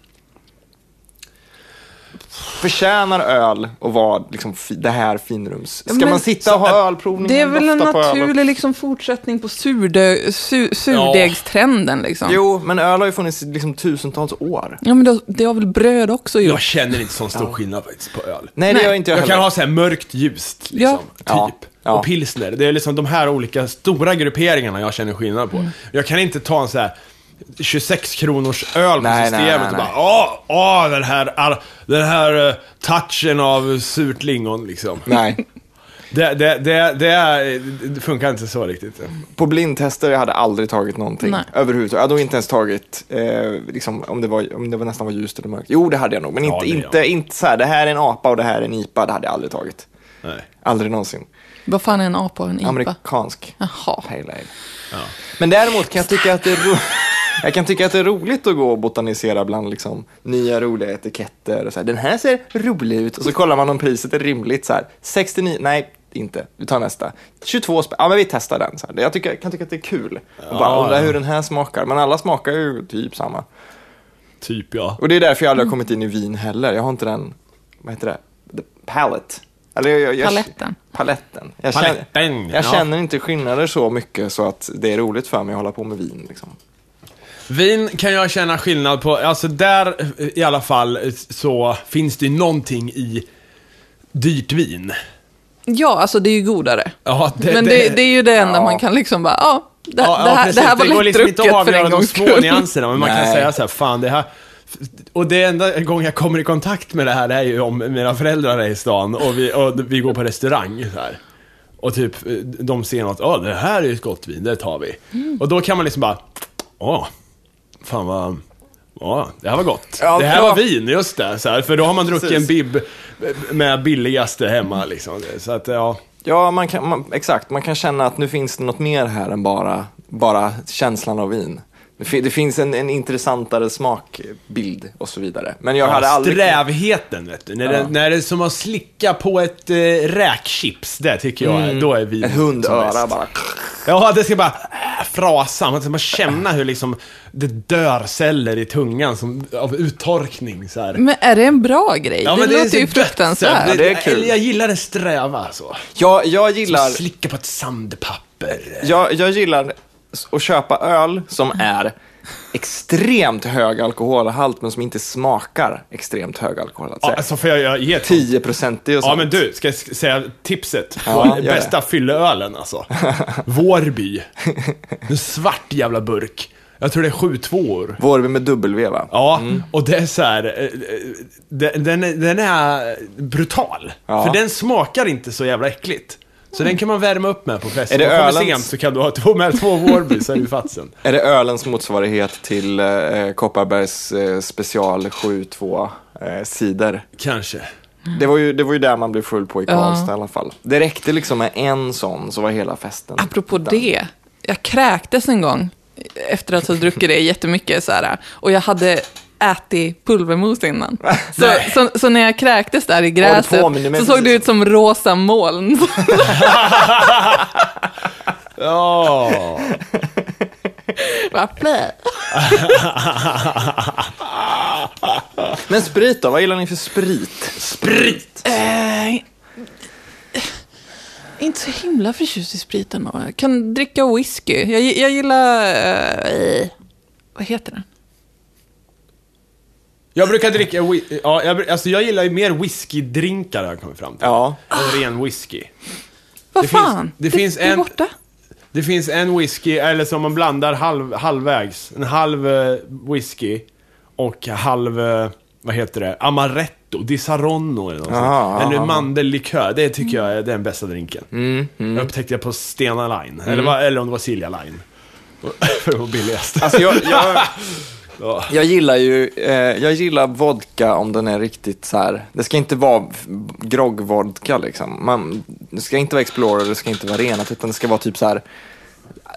Förtjänar öl att vara liksom fi- det här finrums... Ska men- man sitta och ha ölprovning? Det är väl en dofta på ölen? naturlig liksom, fortsättning på surdö- su- surdegstrenden. Liksom. Jo, men öl har ju funnits i liksom tusentals år. Ja, men det, det har väl bröd också Jag gjort? känner inte sån stor skillnad faktiskt på öl. Nej, det Nej. gör inte jag, Jag heller. kan ha så här mörkt ljust, liksom, Ja. typ. Ja, ja. Och pilsner. Det är liksom de här olika stora grupperingarna jag känner skillnad på. Mm. Jag kan inte ta en så här 26 kronors öl på Nej, systemet nej, nej, och nej. bara åh, åh, den här, ar- den här eh, touchen av surt lingon liksom. Nej. Det, det, det, det, är, det funkar inte så riktigt. På blindtester jag hade aldrig tagit någonting Nej. överhuvudtaget. Jag hade nog inte ens tagit, eh, liksom, om, det var, om det var nästan var ljust eller mörkt. Jo, det hade jag nog, men Ja, inte, det gör inte, jag. inte så här, det här är en apa och det här är en IPA, det hade jag aldrig tagit. Nej. Aldrig någonsin. Vad fan är en apa och en IPA? Amerikansk Jaha. pale ale. Men däremot kan jag tycka att det är ro- [laughs] jag kan tycka att det är roligt att gå och botanisera bland liksom, nya roliga etiketter. Och så här, Den här ser rolig ut. Och så kollar man om priset är rimligt. Så här, 69, nej inte, vi tar nästa. 22 spänn, ja men vi testar den. Så här. Jag tycker, kan tycka att det är kul. Och bara Ja, undra ja. hur den här smakar. Men alla smakar ju typ samma. Typ ja. Och det är därför jag aldrig har kommit in i vin heller. Jag har inte den, vad heter det, The palette. Eller jag, jag, jag, Paletten. Paletten. Jag, Paletten, känner, ja. jag känner inte skillnader så mycket så att det är roligt för mig att hålla på med vin. Liksom. Vin kan jag känna skillnad på, alltså där i alla fall så finns det ju någonting i dyrt vin. Ja, alltså det är ju godare. Ja, men det, det är ju det enda ja. man kan liksom bara, ja, det, ja, det, ja, här, precis. det här var går liksom inte lättdrucket att för avgöra en de gångs små skull. nyanserna, men man Nej. kan säga så här, fan det här... Och det enda gången jag kommer i kontakt med det här är ju om mina föräldrar är i stan och vi, och vi går på restaurang så här. Och typ, de ser något, ja det här är ju ett gott vin, det tar vi. Mm. Och då kan man liksom bara, åh, fan vad... Ja, det här var gott. Ja, det här bra. var vin, just det. Så här, för då har man druckit Precis. en bib med billigaste hemma liksom. Så att, ja. Ja, man kan, man, exakt. Man kan känna att nu finns det något mer här än bara bara känslan av vin. Det, fi- det finns en, en intressantare smakbild och så vidare. Men jag hade aldrig... Strävheten, vet du. När, Ja. det, när det är som att slicka på ett eh, räkchips, det tycker jag, Mm. då är vi Ett som hundöra bäst. bara. Ja, det ska bara äh, frasa. Man ska bara känna hur liksom det dör celler i tungan som, av uttorkning så Mm. här. Men är det en bra grej? det, är så låter ju dött, så här. fruktansvärt. Ja, det är kul. Jag, jag gillar det sträva så. Jag, jag gillar... Slicka på ett sandpapper. Jag, jag gillar s- att köpa öl som Mm. är extremt hög alkoholhalt men som inte smakar extremt hög alkoholhalt. Ja, Säg, alltså får jag, jag ge ett 10 procent, det är ju Ja sånt. men du, ska jag s- säga tipset? Ja, På gör det. bästa fylleölen alltså. [laughs] Vårby. En svart jävla burk. Jag tror det är 7 tvåor. Vårby med W va? Ja, Mm. och det är så här, eh, eh, den, den är- den är brutal. Ja. För den smakar inte så jävla äckligt. Så den kan man värma upp med på fest. Är det Om du kommer ölens- sent så kan du ha två, med två Vårby så är vi fatt sen. Är det ölens motsvarighet till eh, Kopparbergs eh, special 7-2 eh, cider? Kanske. Det var, ju, det var ju där man blev full på i Ja. Karlstad i alla fall. Det räckte liksom med en sån så var hela festen. Apropå det, jag kräktes en gång efter att ha druckit det jättemycket. Så här, och jag hade ätit [laughs] pulvermos innan. Så, Nej. så, så när jag kräktes där i gräset påminner mig så såg det precis. ut som [laughs] rosa moln. [laughs] Ja. [laughs] Bara, "Blä." Men sprit då? Vad gillar ni för sprit? Sprit! Eh, inte så himla förtjust i spriten. då. Jag kan dricka whisky. Jag, jag gillar... eh, vad heter den? Jag brukar dricka, whi- ja, jag, br- alltså jag gillar ju mer whiskydrinkar har jag kommit fram till. Ja. Än ren whisky. Vad Det finns- fan? det finns är en- borta. Det finns en whisky, eller som man blandar halv, halvvägs. En halv eh, whisky och halv, eh, vad heter det, amaretto, di saronno eller något Aha, sånt. Eller aha. Mm, mandellikör, det tycker jag är den bästa drinken. Jag upptäckte det på Stena Line, eller, vad- eller om det var Silja Line. [laughs] För det var billigast. Alltså jag, [laughs] jag, Ja. jag gillar ju eh, jag gillar vodka om den är riktigt så här. Det ska inte vara f- groggvodka liksom. Man, det ska inte vara Explorer, det ska inte vara renat utan det ska vara typ så här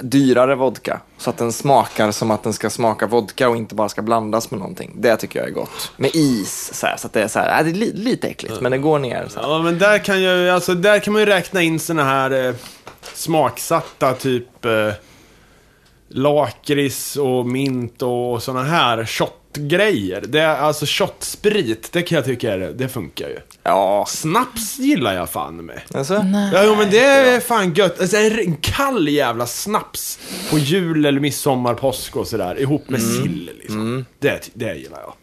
dyrare vodka. Så att den smakar som att den ska smaka vodka och inte bara ska blandas med någonting. Det tycker jag är gott. Med is så, här, så att det är så här, äh, det är li, lite äckligt men det går ner. Så här. Ja, men där kan, ju, alltså, där kan man ju räkna in såna här eh, smaksatta typ eh, lakrits och mint och, och såna här shotgrejer. Det är Alltså shotsprit, det kan jag tycka är, det funkar ju. Ja, Snaps gillar jag fan med. alltså. Nej. Ja, jo, men det är fan gött. Alltså, en en kall jävla snaps på jul eller midsommar, påsk och sådär ihop med sill liksom. Det, det gillar jag.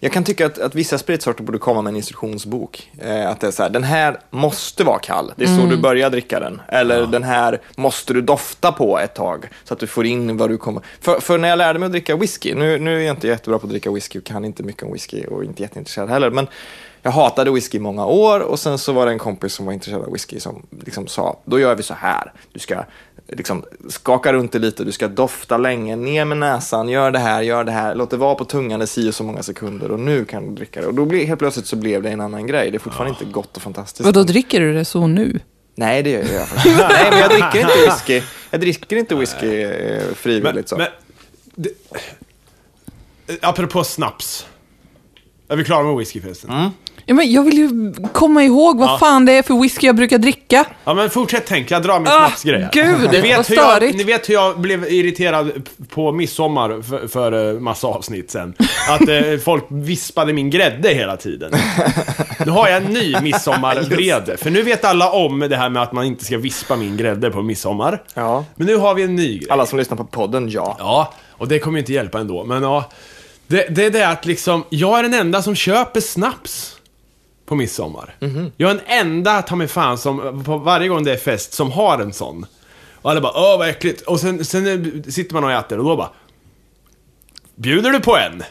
Jag kan tycka att, att vissa spritsorter borde komma med en instruktionsbok. Eh, att det är så här, den här måste vara kall. Det är så du börjar dricka den. Eller den här måste du dofta på ett tag. Så att du får in vad du kommer... För, för när jag lärde mig att dricka whisky, nu, nu är jag inte jättebra på att dricka whisky och kan inte mycket om whisky och är inte jätteintresserad heller. Men jag hatade whisky i många år och sen så var det en kompis som var intresserad av whisky som liksom sa, då gör vi så här. Du ska liksom skaka runt det lite, du ska dofta länge, ner med näsan, gör det här, gör det här, låt det vara på tungan i si och så många sekunder och nu kan du dricka det. Och då blev, helt plötsligt så blev det en annan grej. Det är fortfarande inte gott och fantastiskt. Vadå, dricker du det så nu? Nej, det gör jag faktiskt. Nej, men jag dricker inte whisky. Jag dricker inte whisky eh, frivilligt så. Men, det, eh, apropå snaps. Är vi klara med whisky förresten? Mm. Ja, men jag vill ju komma ihåg vad fan det är för whisky jag brukar dricka. Ja men fortsätt tänk, jag drar min Ah, snapsgrej. här. gud, ni vet, vad hur jag, störigt. ni vet hur jag blev irriterad på midsommar för, för eh, massa avsnitt sen. Att eh, folk vispade min grädde hela tiden. Nu har jag en [laughs] ny midsommarvrede. För nu vet alla om det här med att man inte ska vispa min grädde på midsommar. Ja. Men nu har vi en ny grej. Alla som lyssnar på podden, ja. Ja, och det kommer ju inte hjälpa ändå. Men ja, det, det är det att liksom, jag är den enda som köper snaps på midsommar. Jag är den enda, ta mig fan, som på varje gång det är fest, som har en sån. Och alla bara åh vad äckligt. Och sen, sen eh, sitter man och äter och då bara Bjuder du på en?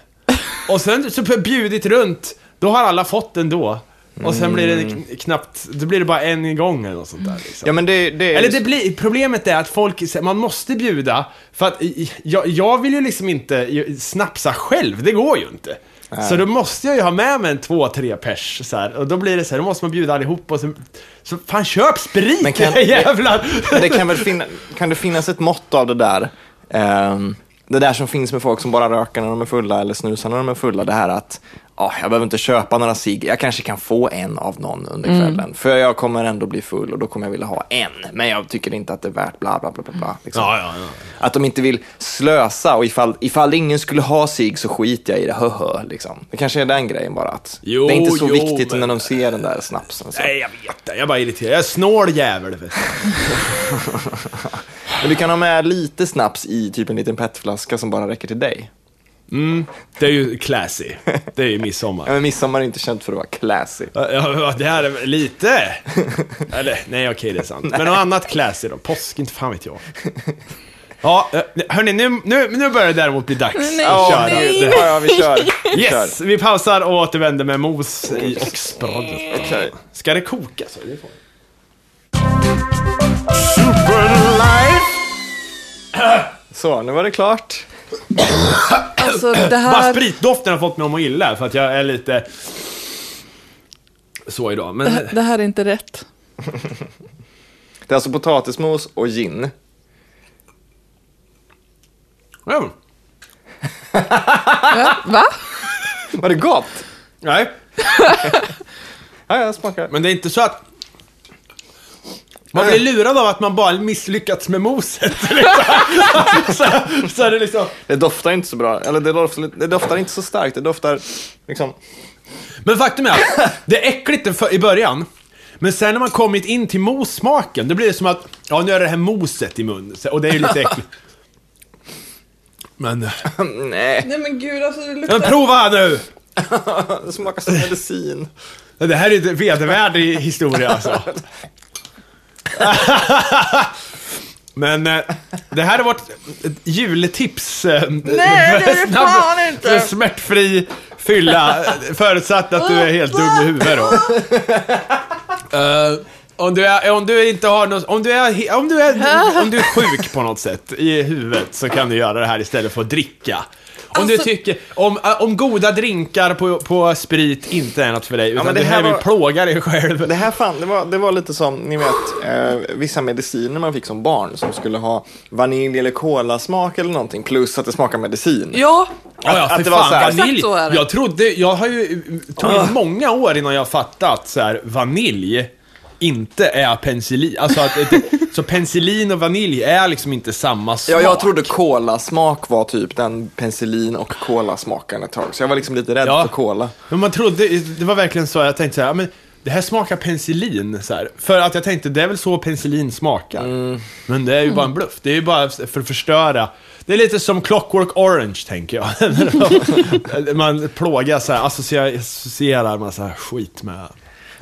Och sen så bjudit runt, då har alla fått den då. Och sen blir det kn- knappt, då blir det bara en gång eller något sånt där liksom. Ja, men det, det är Eller det blir, problemet är att folk, man måste bjuda, för att jag, jag vill ju liksom inte snapsa själv, det går ju inte. Så då måste jag ju ha med mig en två, tre pers så här, och då blir det så här, då måste man bjuda allihop och så, så fan köp sprit Men [laughs] kan- jävlar! Men det kan väl finna, kan det finnas ett mått av det där Ehm, det där som finns med folk som bara röker när de är fulla eller snusar när de är fulla, det här att ah, jag behöver inte köpa några cigg, jag kanske kan få en av någon under Mm. kvällen. För jag kommer ändå bli full och då kommer jag vilja ha en. Men jag tycker inte att det är värt bla bla bla bla. bla liksom. Ja, ja, ja. Att de inte vill slösa och ifall, ifall ingen skulle ha sig så skiter jag i det, höhö. Liksom. Det kanske är den grejen bara att Jo, det är inte så jo, viktigt men- när de ser den där snapsen. Så. Nej, jag vet det. Jag är bara irriterad. Jag är snål jävel. vet du. Men du kan ha med lite snaps i typ en liten petflaska som bara räcker till dig. Mm, det är ju classy. Det är ju midsommar. Ja, men midsommar är inte känt för att vara classy. Ja, ja, det här är lite... Eller, nej okej, det är sant. Men något annat classy då? Påsk, inte fan vet jag. Ja, eh, hörni, nu, nu, nu börjar det däremot bli dags Nej, att köra. nej. Ja, ja, [laughs] vi kör. Vi kör. Yes, vi pausar och återvänder med mos i och sprallet. Okej. Ska det koka så? Det får- Så, nu var det klart. Alltså det Bara här, spritdoften har fått mig att må illa för att jag är lite... Så idag, men... det här är inte rätt. Det är alltså potatismos och gin. Mm. Va? Var det gott? Nej, Ja, jag smakar. men det är inte så att... Man blir lurad av att man bara misslyckats med moset. [laughs] liksom. så, så är det liksom... Det doftar inte så bra. Eller det doftar, det doftar inte så starkt. Det doftar liksom... [laughs] Men faktum är att det är äckligt i för- i början. Men sen när man kommit in till mossmaken, då blir det som att, ja nu är det här moset i munnen. Så- Och det är ju lite äckligt. Men, Nej, Nej men gud, alltså det luktar... men prova nu! det smakar som medicin. Det här är ju vedervärdig historia alltså. [laughs] Men eh, det här är vårt eh, jultips. Nej, Nej, det [laughs] är det fan inte. Smärtfri fylla, eh, förutsatt att du är helt dum i huvudet [laughs] då. Eh, om, du är, om du inte har något, om du är, he- om du är, om du är sjuk på något sätt i huvudet så kan du göra det här istället för att dricka. Om du Alltså- tycker, om, eh, om goda drinkar på, på sprit inte är något för dig, utan men det, det här här vill var- plåga dig själv. Det här fan, det var, det var lite som, ni vet, eh, vissa mediciner man fick som barn som skulle ha vanilj eller kolasmak eller någonting plus att det smakar medicin. Ja, Ja, ja, Att- för att det var fan, så här- vanilj. Exakt så är det. Jag trodde, jag har ju, tog det många år innan jag fattat att så här, vanilj inte är penicillin. Alltså att, att- så penicillin och vanilj är liksom inte samma sak. Ja, jag trodde kolasmak var typ den penicillin och kolasmaken ett tag. Så jag var liksom lite rädd Ja. för kola. Men man trodde, det var verkligen så, jag tänkte så här, ja, men det här smakar penicillin. Så här. För att jag tänkte, det är väl så penicillin smakar. Mm. Men det är ju bara en bluff. Det är ju bara för att förstöra. Det är lite som Clockwork Orange, tänker jag. [laughs] man plågar så här, associerar, associerar massa skit med...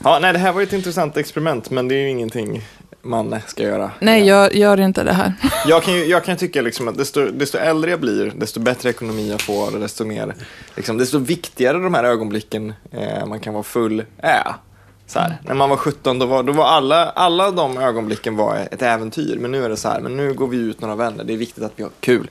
Ja, nej, det här var ju ett intressant experiment, men det är ju ingenting man ska göra. nej gör, gör inte det här. Jag kan ju jag kan tycka liksom att desto, desto äldre jag blir, desto bättre ekonomi jag får och desto, mer, liksom, desto viktigare de här ögonblicken eh, man kan vara full är. Så här, När man var 17, då var, då var alla, alla de ögonblicken var ett äventyr. Men nu är det så här, men nu går vi ut några vänner, det är viktigt att vi har kul.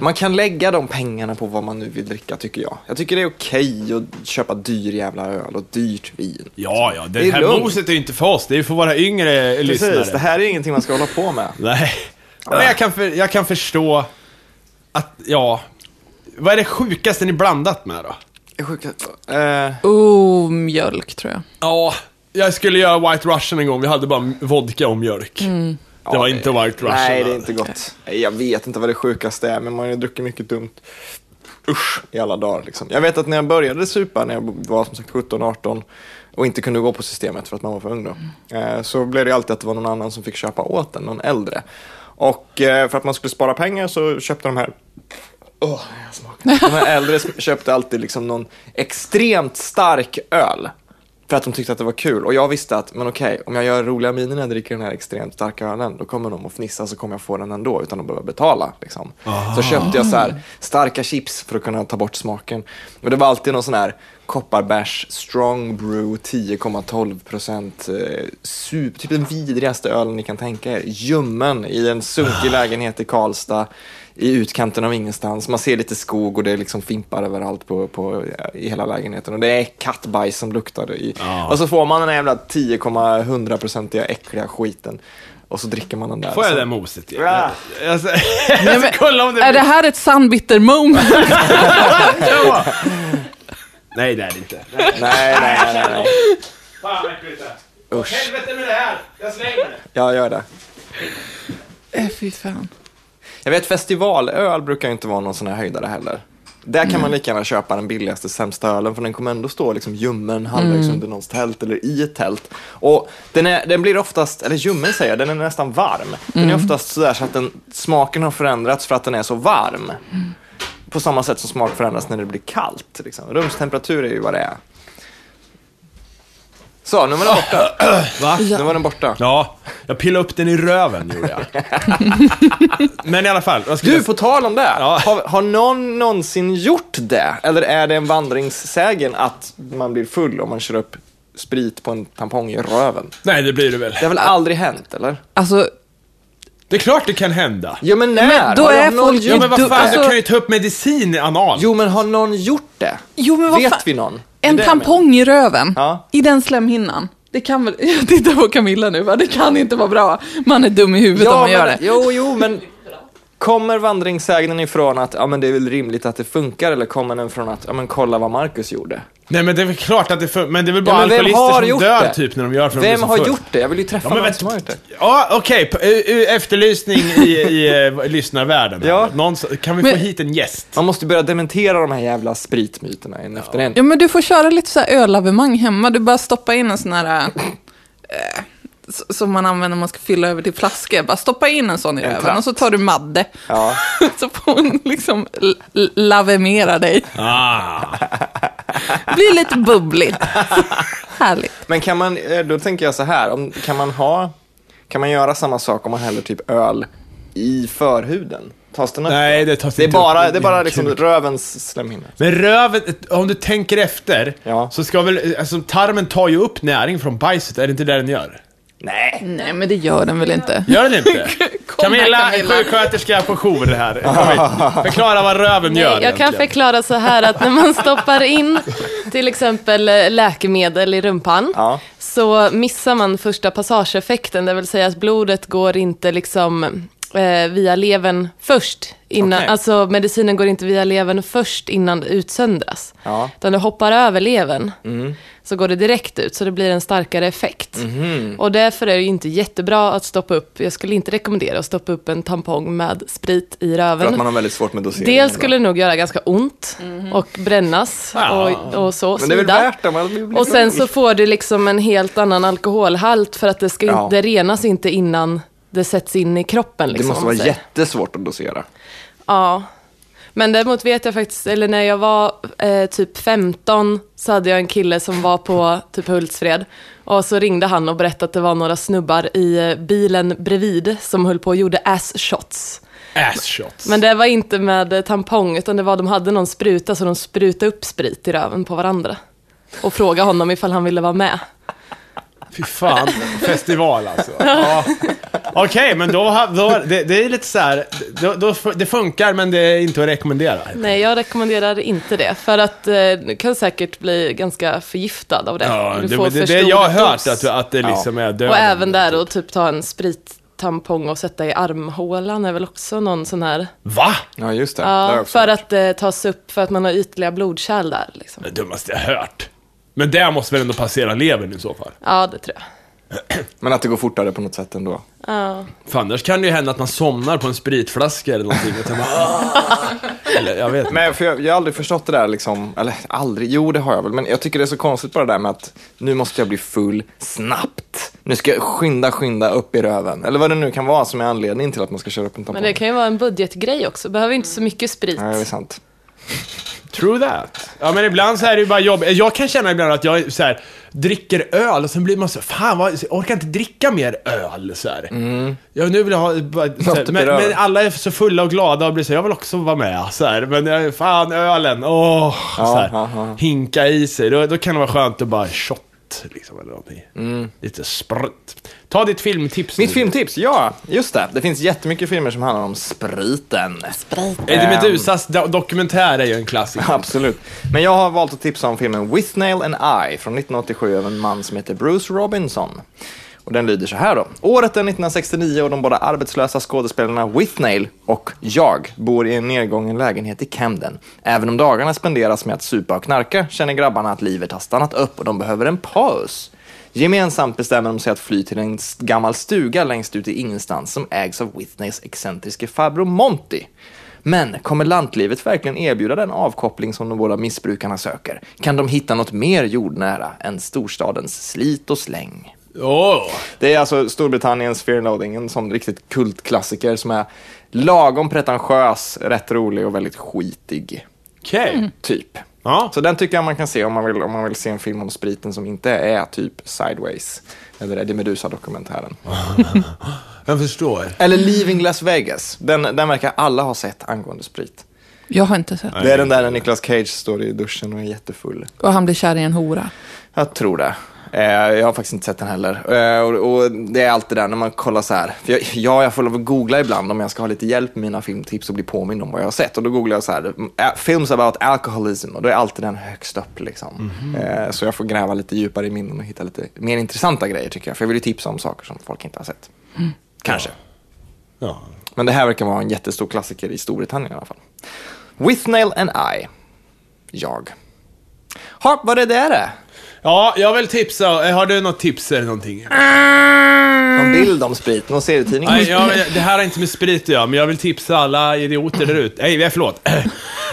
Man kan lägga de pengarna på vad man nu vill dricka, tycker jag. Jag tycker det är okej att köpa dyr jävla öl och dyrt vin. Ja, ja, det, Det är här lugnt. moset är ju inte för oss, det är ju för våra yngre lyssnare. Precis, det här är ingenting man ska hålla på med. Nej. Men jag kan, för, jag kan förstå att, ja... Vad är det sjukaste ni blandat med då? Jag är sjuk, eh, Oh, mjölk tror jag. Ja, jag skulle göra White Russian en gång, vi hade bara vodka och mjölk. Mm. Det var Ja, inte White Russian. Nej, det är inte gott. Nej, Jag vet inte vad det sjukaste är, men man har ju druckit mycket dumt. Usch, i alla dagar liksom. Jag vet att när jag började supa, när jag var som sagt 17-18 och inte kunde gå på systemet för att man var för ung då, eh, så blev det alltid att det var någon annan som fick köpa åt en, någon äldre. Och eh, för att man skulle spara pengar så köpte de här Åh, jag smakar. De här äldre köpte alltid liksom någon extremt stark öl. För att de tyckte att det var kul. Och jag visste att, men okej, om jag gör roliga miner när jag dricker den här extremt starka ölen, då kommer de att fnissa så kommer jag få den ändå utan att behöva betala. Liksom. Så köpte jag så här starka chips för att kunna ta bort smaken. Och det var alltid någon sån här kopparbärs strong brew 10,12 procent. Super, typ den vidrigaste ölen ni kan tänka er. Ljummen i en sunkig lägenhet i Karlstad i utkanten av ingenstans. Man ser lite skog och det är liksom fimpar överallt på, på, i hela lägenheten. Och det är kattbajs som luktar. I. Ja. Och så får man den här jävla 10,100-procentiga äckliga skiten. Och så dricker man den där. Får så. jag det moset igen? Ja. Alltså, jag ska men- kolla om det Är det här ett sandbitter moment? [laughs] Nej, det är det inte. Nej. Nej, nej, nej, nej, nej. Fan vad äckligt det är. Usch. Helvete med det här! Jag slänger det. Jag gör det. Eh, Fy fan. Jag vet festivalöl brukar ju inte vara någon sån här höjdare heller. Där kan man lika gärna köpa den billigaste sämsta ölen för den kommer ändå stå liksom ljummen halvvägs under någons tält eller i ett tält. Och den, är, den blir oftast, eller ljummen säger jag, den är nästan varm. Den är oftast sådär så att den, smaken har förändrats för att den är så varm. På samma sätt som smak förändras när det blir kallt. Liksom. Rumstemperatur är ju vad det är. Så, nu var den borta. Va? Nu var den borta. Ja, jag pillade upp den i röven gjorde [laughs] jag. Men i alla fall, vad skulle Du, jag... på tal om det. Ja. Har, har någon någonsin gjort det? Eller är det en vandringssägen att man blir full om man kör upp sprit på en tampong i röven? Nej, det blir det väl. Det har väl aldrig hänt, eller? Alltså, Det är klart det kan hända. Ja, men när? Men då har är någon folk gjort... Ja, men vad Du- fan, alltså- du kan ju ta upp medicin i anal. Jo, men har någon gjort det? jo men vad Vet fan. vi någon? En Det är det jag tampong i röven, Ja. i den slemhinnan. Det kan väl, [laughs] jag tittar på Camilla nu, va? det kan inte vara bra. Man är dum i huvudet om man men, gör det. Jo, jo, men kommer vandringssägnen ifrån att ja, men det är väl rimligt att det funkar eller kommer den från att ja, men kolla vad Marcus gjorde? Nej men det är väl klart att det funkar, men det är väl Ja, bara men vem alkoholister har som gjort dör det? typ när de gör för de blir Vem så har full. gjort det? Jag vill ju träffa Ja, men någon vet, som har gjort det. ja okej, P- ö- ö- efterlysning i, i eh, [laughs] lyssnarvärlden. här. Ja. Någon, som- kan vi Men- få hit en gäst? Man måste börja dementera de här jävla spritmyterna en efter en. Ja, men du får köra lite så här ölavemang hemma. Du bara stoppa in en sån här... Eh, s- som man använder när man ska fylla över till flaskor. Bara stoppa in en sån i röven tratt. och så tar du Madde. Ja. [laughs] så får hon liksom l- l- lavemera dig. Ah. Blir lite [laughs] bubbligt. Härligt. Men kan man, eh, då tänker jag så här, om, kan man ha, kan man göra samma sak om man häller typ öl i förhuden? Tas den upp? Nej, det tas det är inte bara, upp. det är bara liksom rövens slemhinna. Men röven, om du tänker efter, Ja. så ska väl, alltså tarmen tar ju upp näring från bajset, är det inte det den gör? Nej. Nej, men det gör den väl inte. Gör den [laughs] inte? Kom här, Camilla, Camilla. sjuksköterska på jour [laughs] här. Kom hit. Förklara vad röven Nej, gör jag kan egentligen. förklara så här att när man stoppar in till exempel eh, läkemedel i rumpan Ja. så missar man första passageeffekten, det vill säga att blodet går inte liksom eh, via levern först. Innan, Okej. Alltså medicinen går inte via levern först innan det utsöndras. Ja. Mm. Utan det hoppar över levern. Så går det direkt ut, så det blir en starkare effekt. Mhm. Och därför är det ju inte jättebra att stoppa upp, jag skulle inte rekommendera att stoppa upp en tampong med sprit i röven. För att man har väldigt svårt med doseringen. Dels skulle det nog göra ganska ont och brännas Ja. och, och så. Mhm. Men det är väl svida. värt det? Man blir- Och sen så får du liksom en helt annan alkoholhalt för att det, ska Ja. inte, det renas inte innan det sätts in i kroppen. Det Liksom, måste om vara man säger. jättesvårt att dosera. Ja. Men däremot vet jag faktiskt, eller när jag var eh, typ 15 så hade jag en kille som var på typ Hultsfred. Och så ringde han och berättade att det var några snubbar i eh, bilen bredvid som höll på och gjorde ass shots. Ass shots. Men det var inte med eh, tampong, utan det var de hade någon spruta, så de sprutade upp sprit i röven på varandra. Och frågade honom ifall han ville vara med. Fy fan, festival [laughs] alltså. Ja. Okej, men då, ha- då det, det är lite så här, då, då, det funkar men det är inte att rekommendera. Nej, jag rekommenderar inte det, för att eh, du kan säkert bli ganska förgiftad av det. Ja, Och det, får det, det, för stor jag har hört dos. att, du- att det liksom är döden. Och även där att typ ta en sprit-tampong och sätta i armhålan är väl också någon sån här... Va? Ja, just det. Det har jag Ja, också för hört. att eh, tas upp för att man har ytliga blodkärl där. Liksom. Det dummaste jag hört. Men det måste väl ändå passera levern i så fall? Ja, det tror jag. Men att det går fortare på något sätt ändå. Ja. För annars kan det ju hända att man somnar på en spritflaska eller någonting. Och tänker, "Ah." eller, jag vet inte. Men för jag, jag har aldrig förstått det där liksom, eller aldrig, jo det har jag väl, men jag tycker det är så konstigt bara det där med att nu måste jag bli full snabbt. Nu ska jag skynda, skynda upp i röven. Eller vad det nu kan vara som är anledningen till att man ska köra upp en tampong. Men det kan ju vara en budgetgrej också. Behöver inte så mycket sprit. Nej, det är sant. True that. Ja, men ibland så är det ju bara jobb. Jag kan känna ibland att jag så här, dricker öl och sen blir man så fan vad, jag orkar inte dricka mer öl så här. Mm. Ja, nu vill jag ha, [laughs] bara, så här, upp i men, röven. men alla är så fulla och glada och blir så här, jag vill också vara med så här. Men jag, fan ölen, åh, så här, ja, ja. hinka i sig. Då, då kan det vara skönt att bara shot. Liksom, eller någonting. Lite sprutt. Ta ditt filmtips. Mm. Mitt nu. filmtips, ja, just det. Det finns jättemycket filmer som handlar om spriten. Eh, Ehm. Eddie Medusas do- dokumentär är ju en [laughs] klassiker. Absolut. Men jag har valt att tipsa om filmen With Nail and I från 1987 av en man som heter Bruce Robinson. Och den lyder så här då. Året är 1969 och de båda arbetslösa skådespelarna Whitnail och jag bor i en nedgången lägenhet i Camden. Även om dagarna spenderas med att supa och knarka känner grabbarna att livet har stannat upp och de behöver en paus. Gemensamt bestämmer de sig att fly till en s- gammal stuga längst ut i ingenstans som ägs av Whitneys excentriske farbror Monty. Men kommer lantlivet verkligen erbjuda den avkoppling som de båda missbrukarna söker? Kan de hitta något mer jordnära än storstadens slit och släng? Åh! Det är alltså Storbritanniens Fear and Loathing, en sån riktigt kultklassiker som är lagom pretentiös, rätt rolig och väldigt skitig, Okej. typ. Ja. Så den tycker jag man kan se om man vill, om man vill se en film om spriten som inte är typ Sideways, eller Eddie Meduza-dokumentären. Jag förstår. Eller Leaving Las Vegas, den, den verkar alla ha sett angående sprit. Jag har inte sett. Det är den där när Nicolas Cage står i duschen och är jättefull. Och han blir kär i en hora. Jag tror det. Eh, jag har faktiskt inte sett den heller. Eh, och, och Det är alltid det där när man kollar så här. För jag, ja, jag får lov att googla ibland om jag ska ha lite hjälp med mina filmtips och bli påmind om vad jag har sett. Och då googlar jag så här, eh, films about alcoholism. Och då är alltid den högst upp liksom. Eh, så jag får gräva lite djupare i minnen och hitta lite mer intressanta grejer tycker jag. För jag vill ju tipsa om saker som folk inte har sett. Kanske. Ja. Men det här verkar vara en jättestor klassiker i Storbritannien i alla fall. Withnail and I. Jag. Ha, vad är det det? ja, jag vill tipsa. Eh, Har du något tips eller någonting? Någon bild om sprit, någon serietidning? Nej, jag, det här har inte med sprit att göra, men jag vill tipsa alla idioter där ute. Nej, jag- förlåt. [clears throat]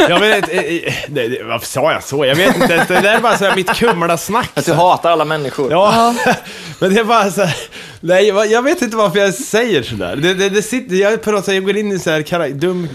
Jag vet eh, eh, nej, det- Varför sa jag så? Jag vet inte. Det där är bara så här, mitt Kumla-snack. Att du hatar alla människor? Ja, [laughs] men det är bara så här, Nej, jag- jag vet inte varför jag säger sådär. Det, det, det sitter, jag på något sätt, jag går in i så här kara, dum...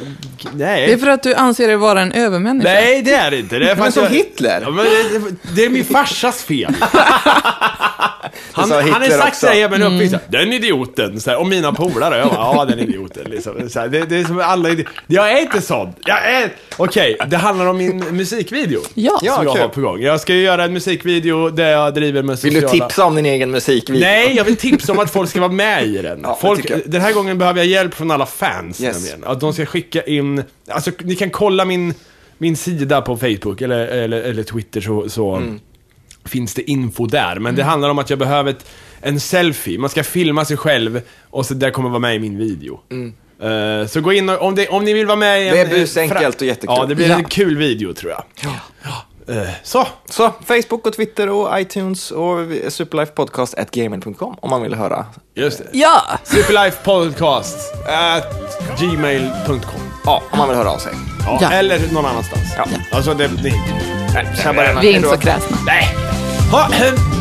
Nej. Det är för att du anser dig vara en övermänniska. Nej, det är det inte. Det är för att som jag- Hitler. Ja, men det, det, det är min farsas [laughs] fel. Han, sa han har Hitler sagt också. Mm. så här, ger mig en uppgift. så här, Den idioten. Så här, och mina polare. Jag bara, ja, den idioten. Liksom. Så här, det, det är som alla idi- Jag är inte sån. Jag är... Okej, det handlar om min musikvideo. Ja. Ja. som jag kul. har på gång. Jag ska ju göra en musikvideo där jag driver med Vill sociala... du tipsa om din egen musikvideo? Nej, jag vill tipsa om att folk ska vara med i den. [laughs] Ja, det folk, tycker jag. den här gången behöver jag hjälp från alla fans. Yes. nämligen. Att de ska skicka in, alltså ni kan kolla min, min sida på Facebook eller, eller, eller Twitter så, så Mm. finns det info där. Men det handlar om att jag behöver ett, en selfie, man ska filma sig själv och så där kommer vara med i min video. Eh, så gå in och, om, det, om ni vill vara med i en... Mm. Det är busenkelt och jättekul. Ja, det blir en Ja. kul video tror jag. Ja. Eh, så, Så, Facebook och Twitter och iTunes och superlifepodcast.gmail.com om man vill höra. just det. Ja! Superlifepodcast at gmail.com. Ja, om man vill höra av sig. Ja, Ja. Eller någon annanstans. Ja. Alltså, det... det Nej, jag bara- Vi är inte så kräsna. nej. Ha, eh,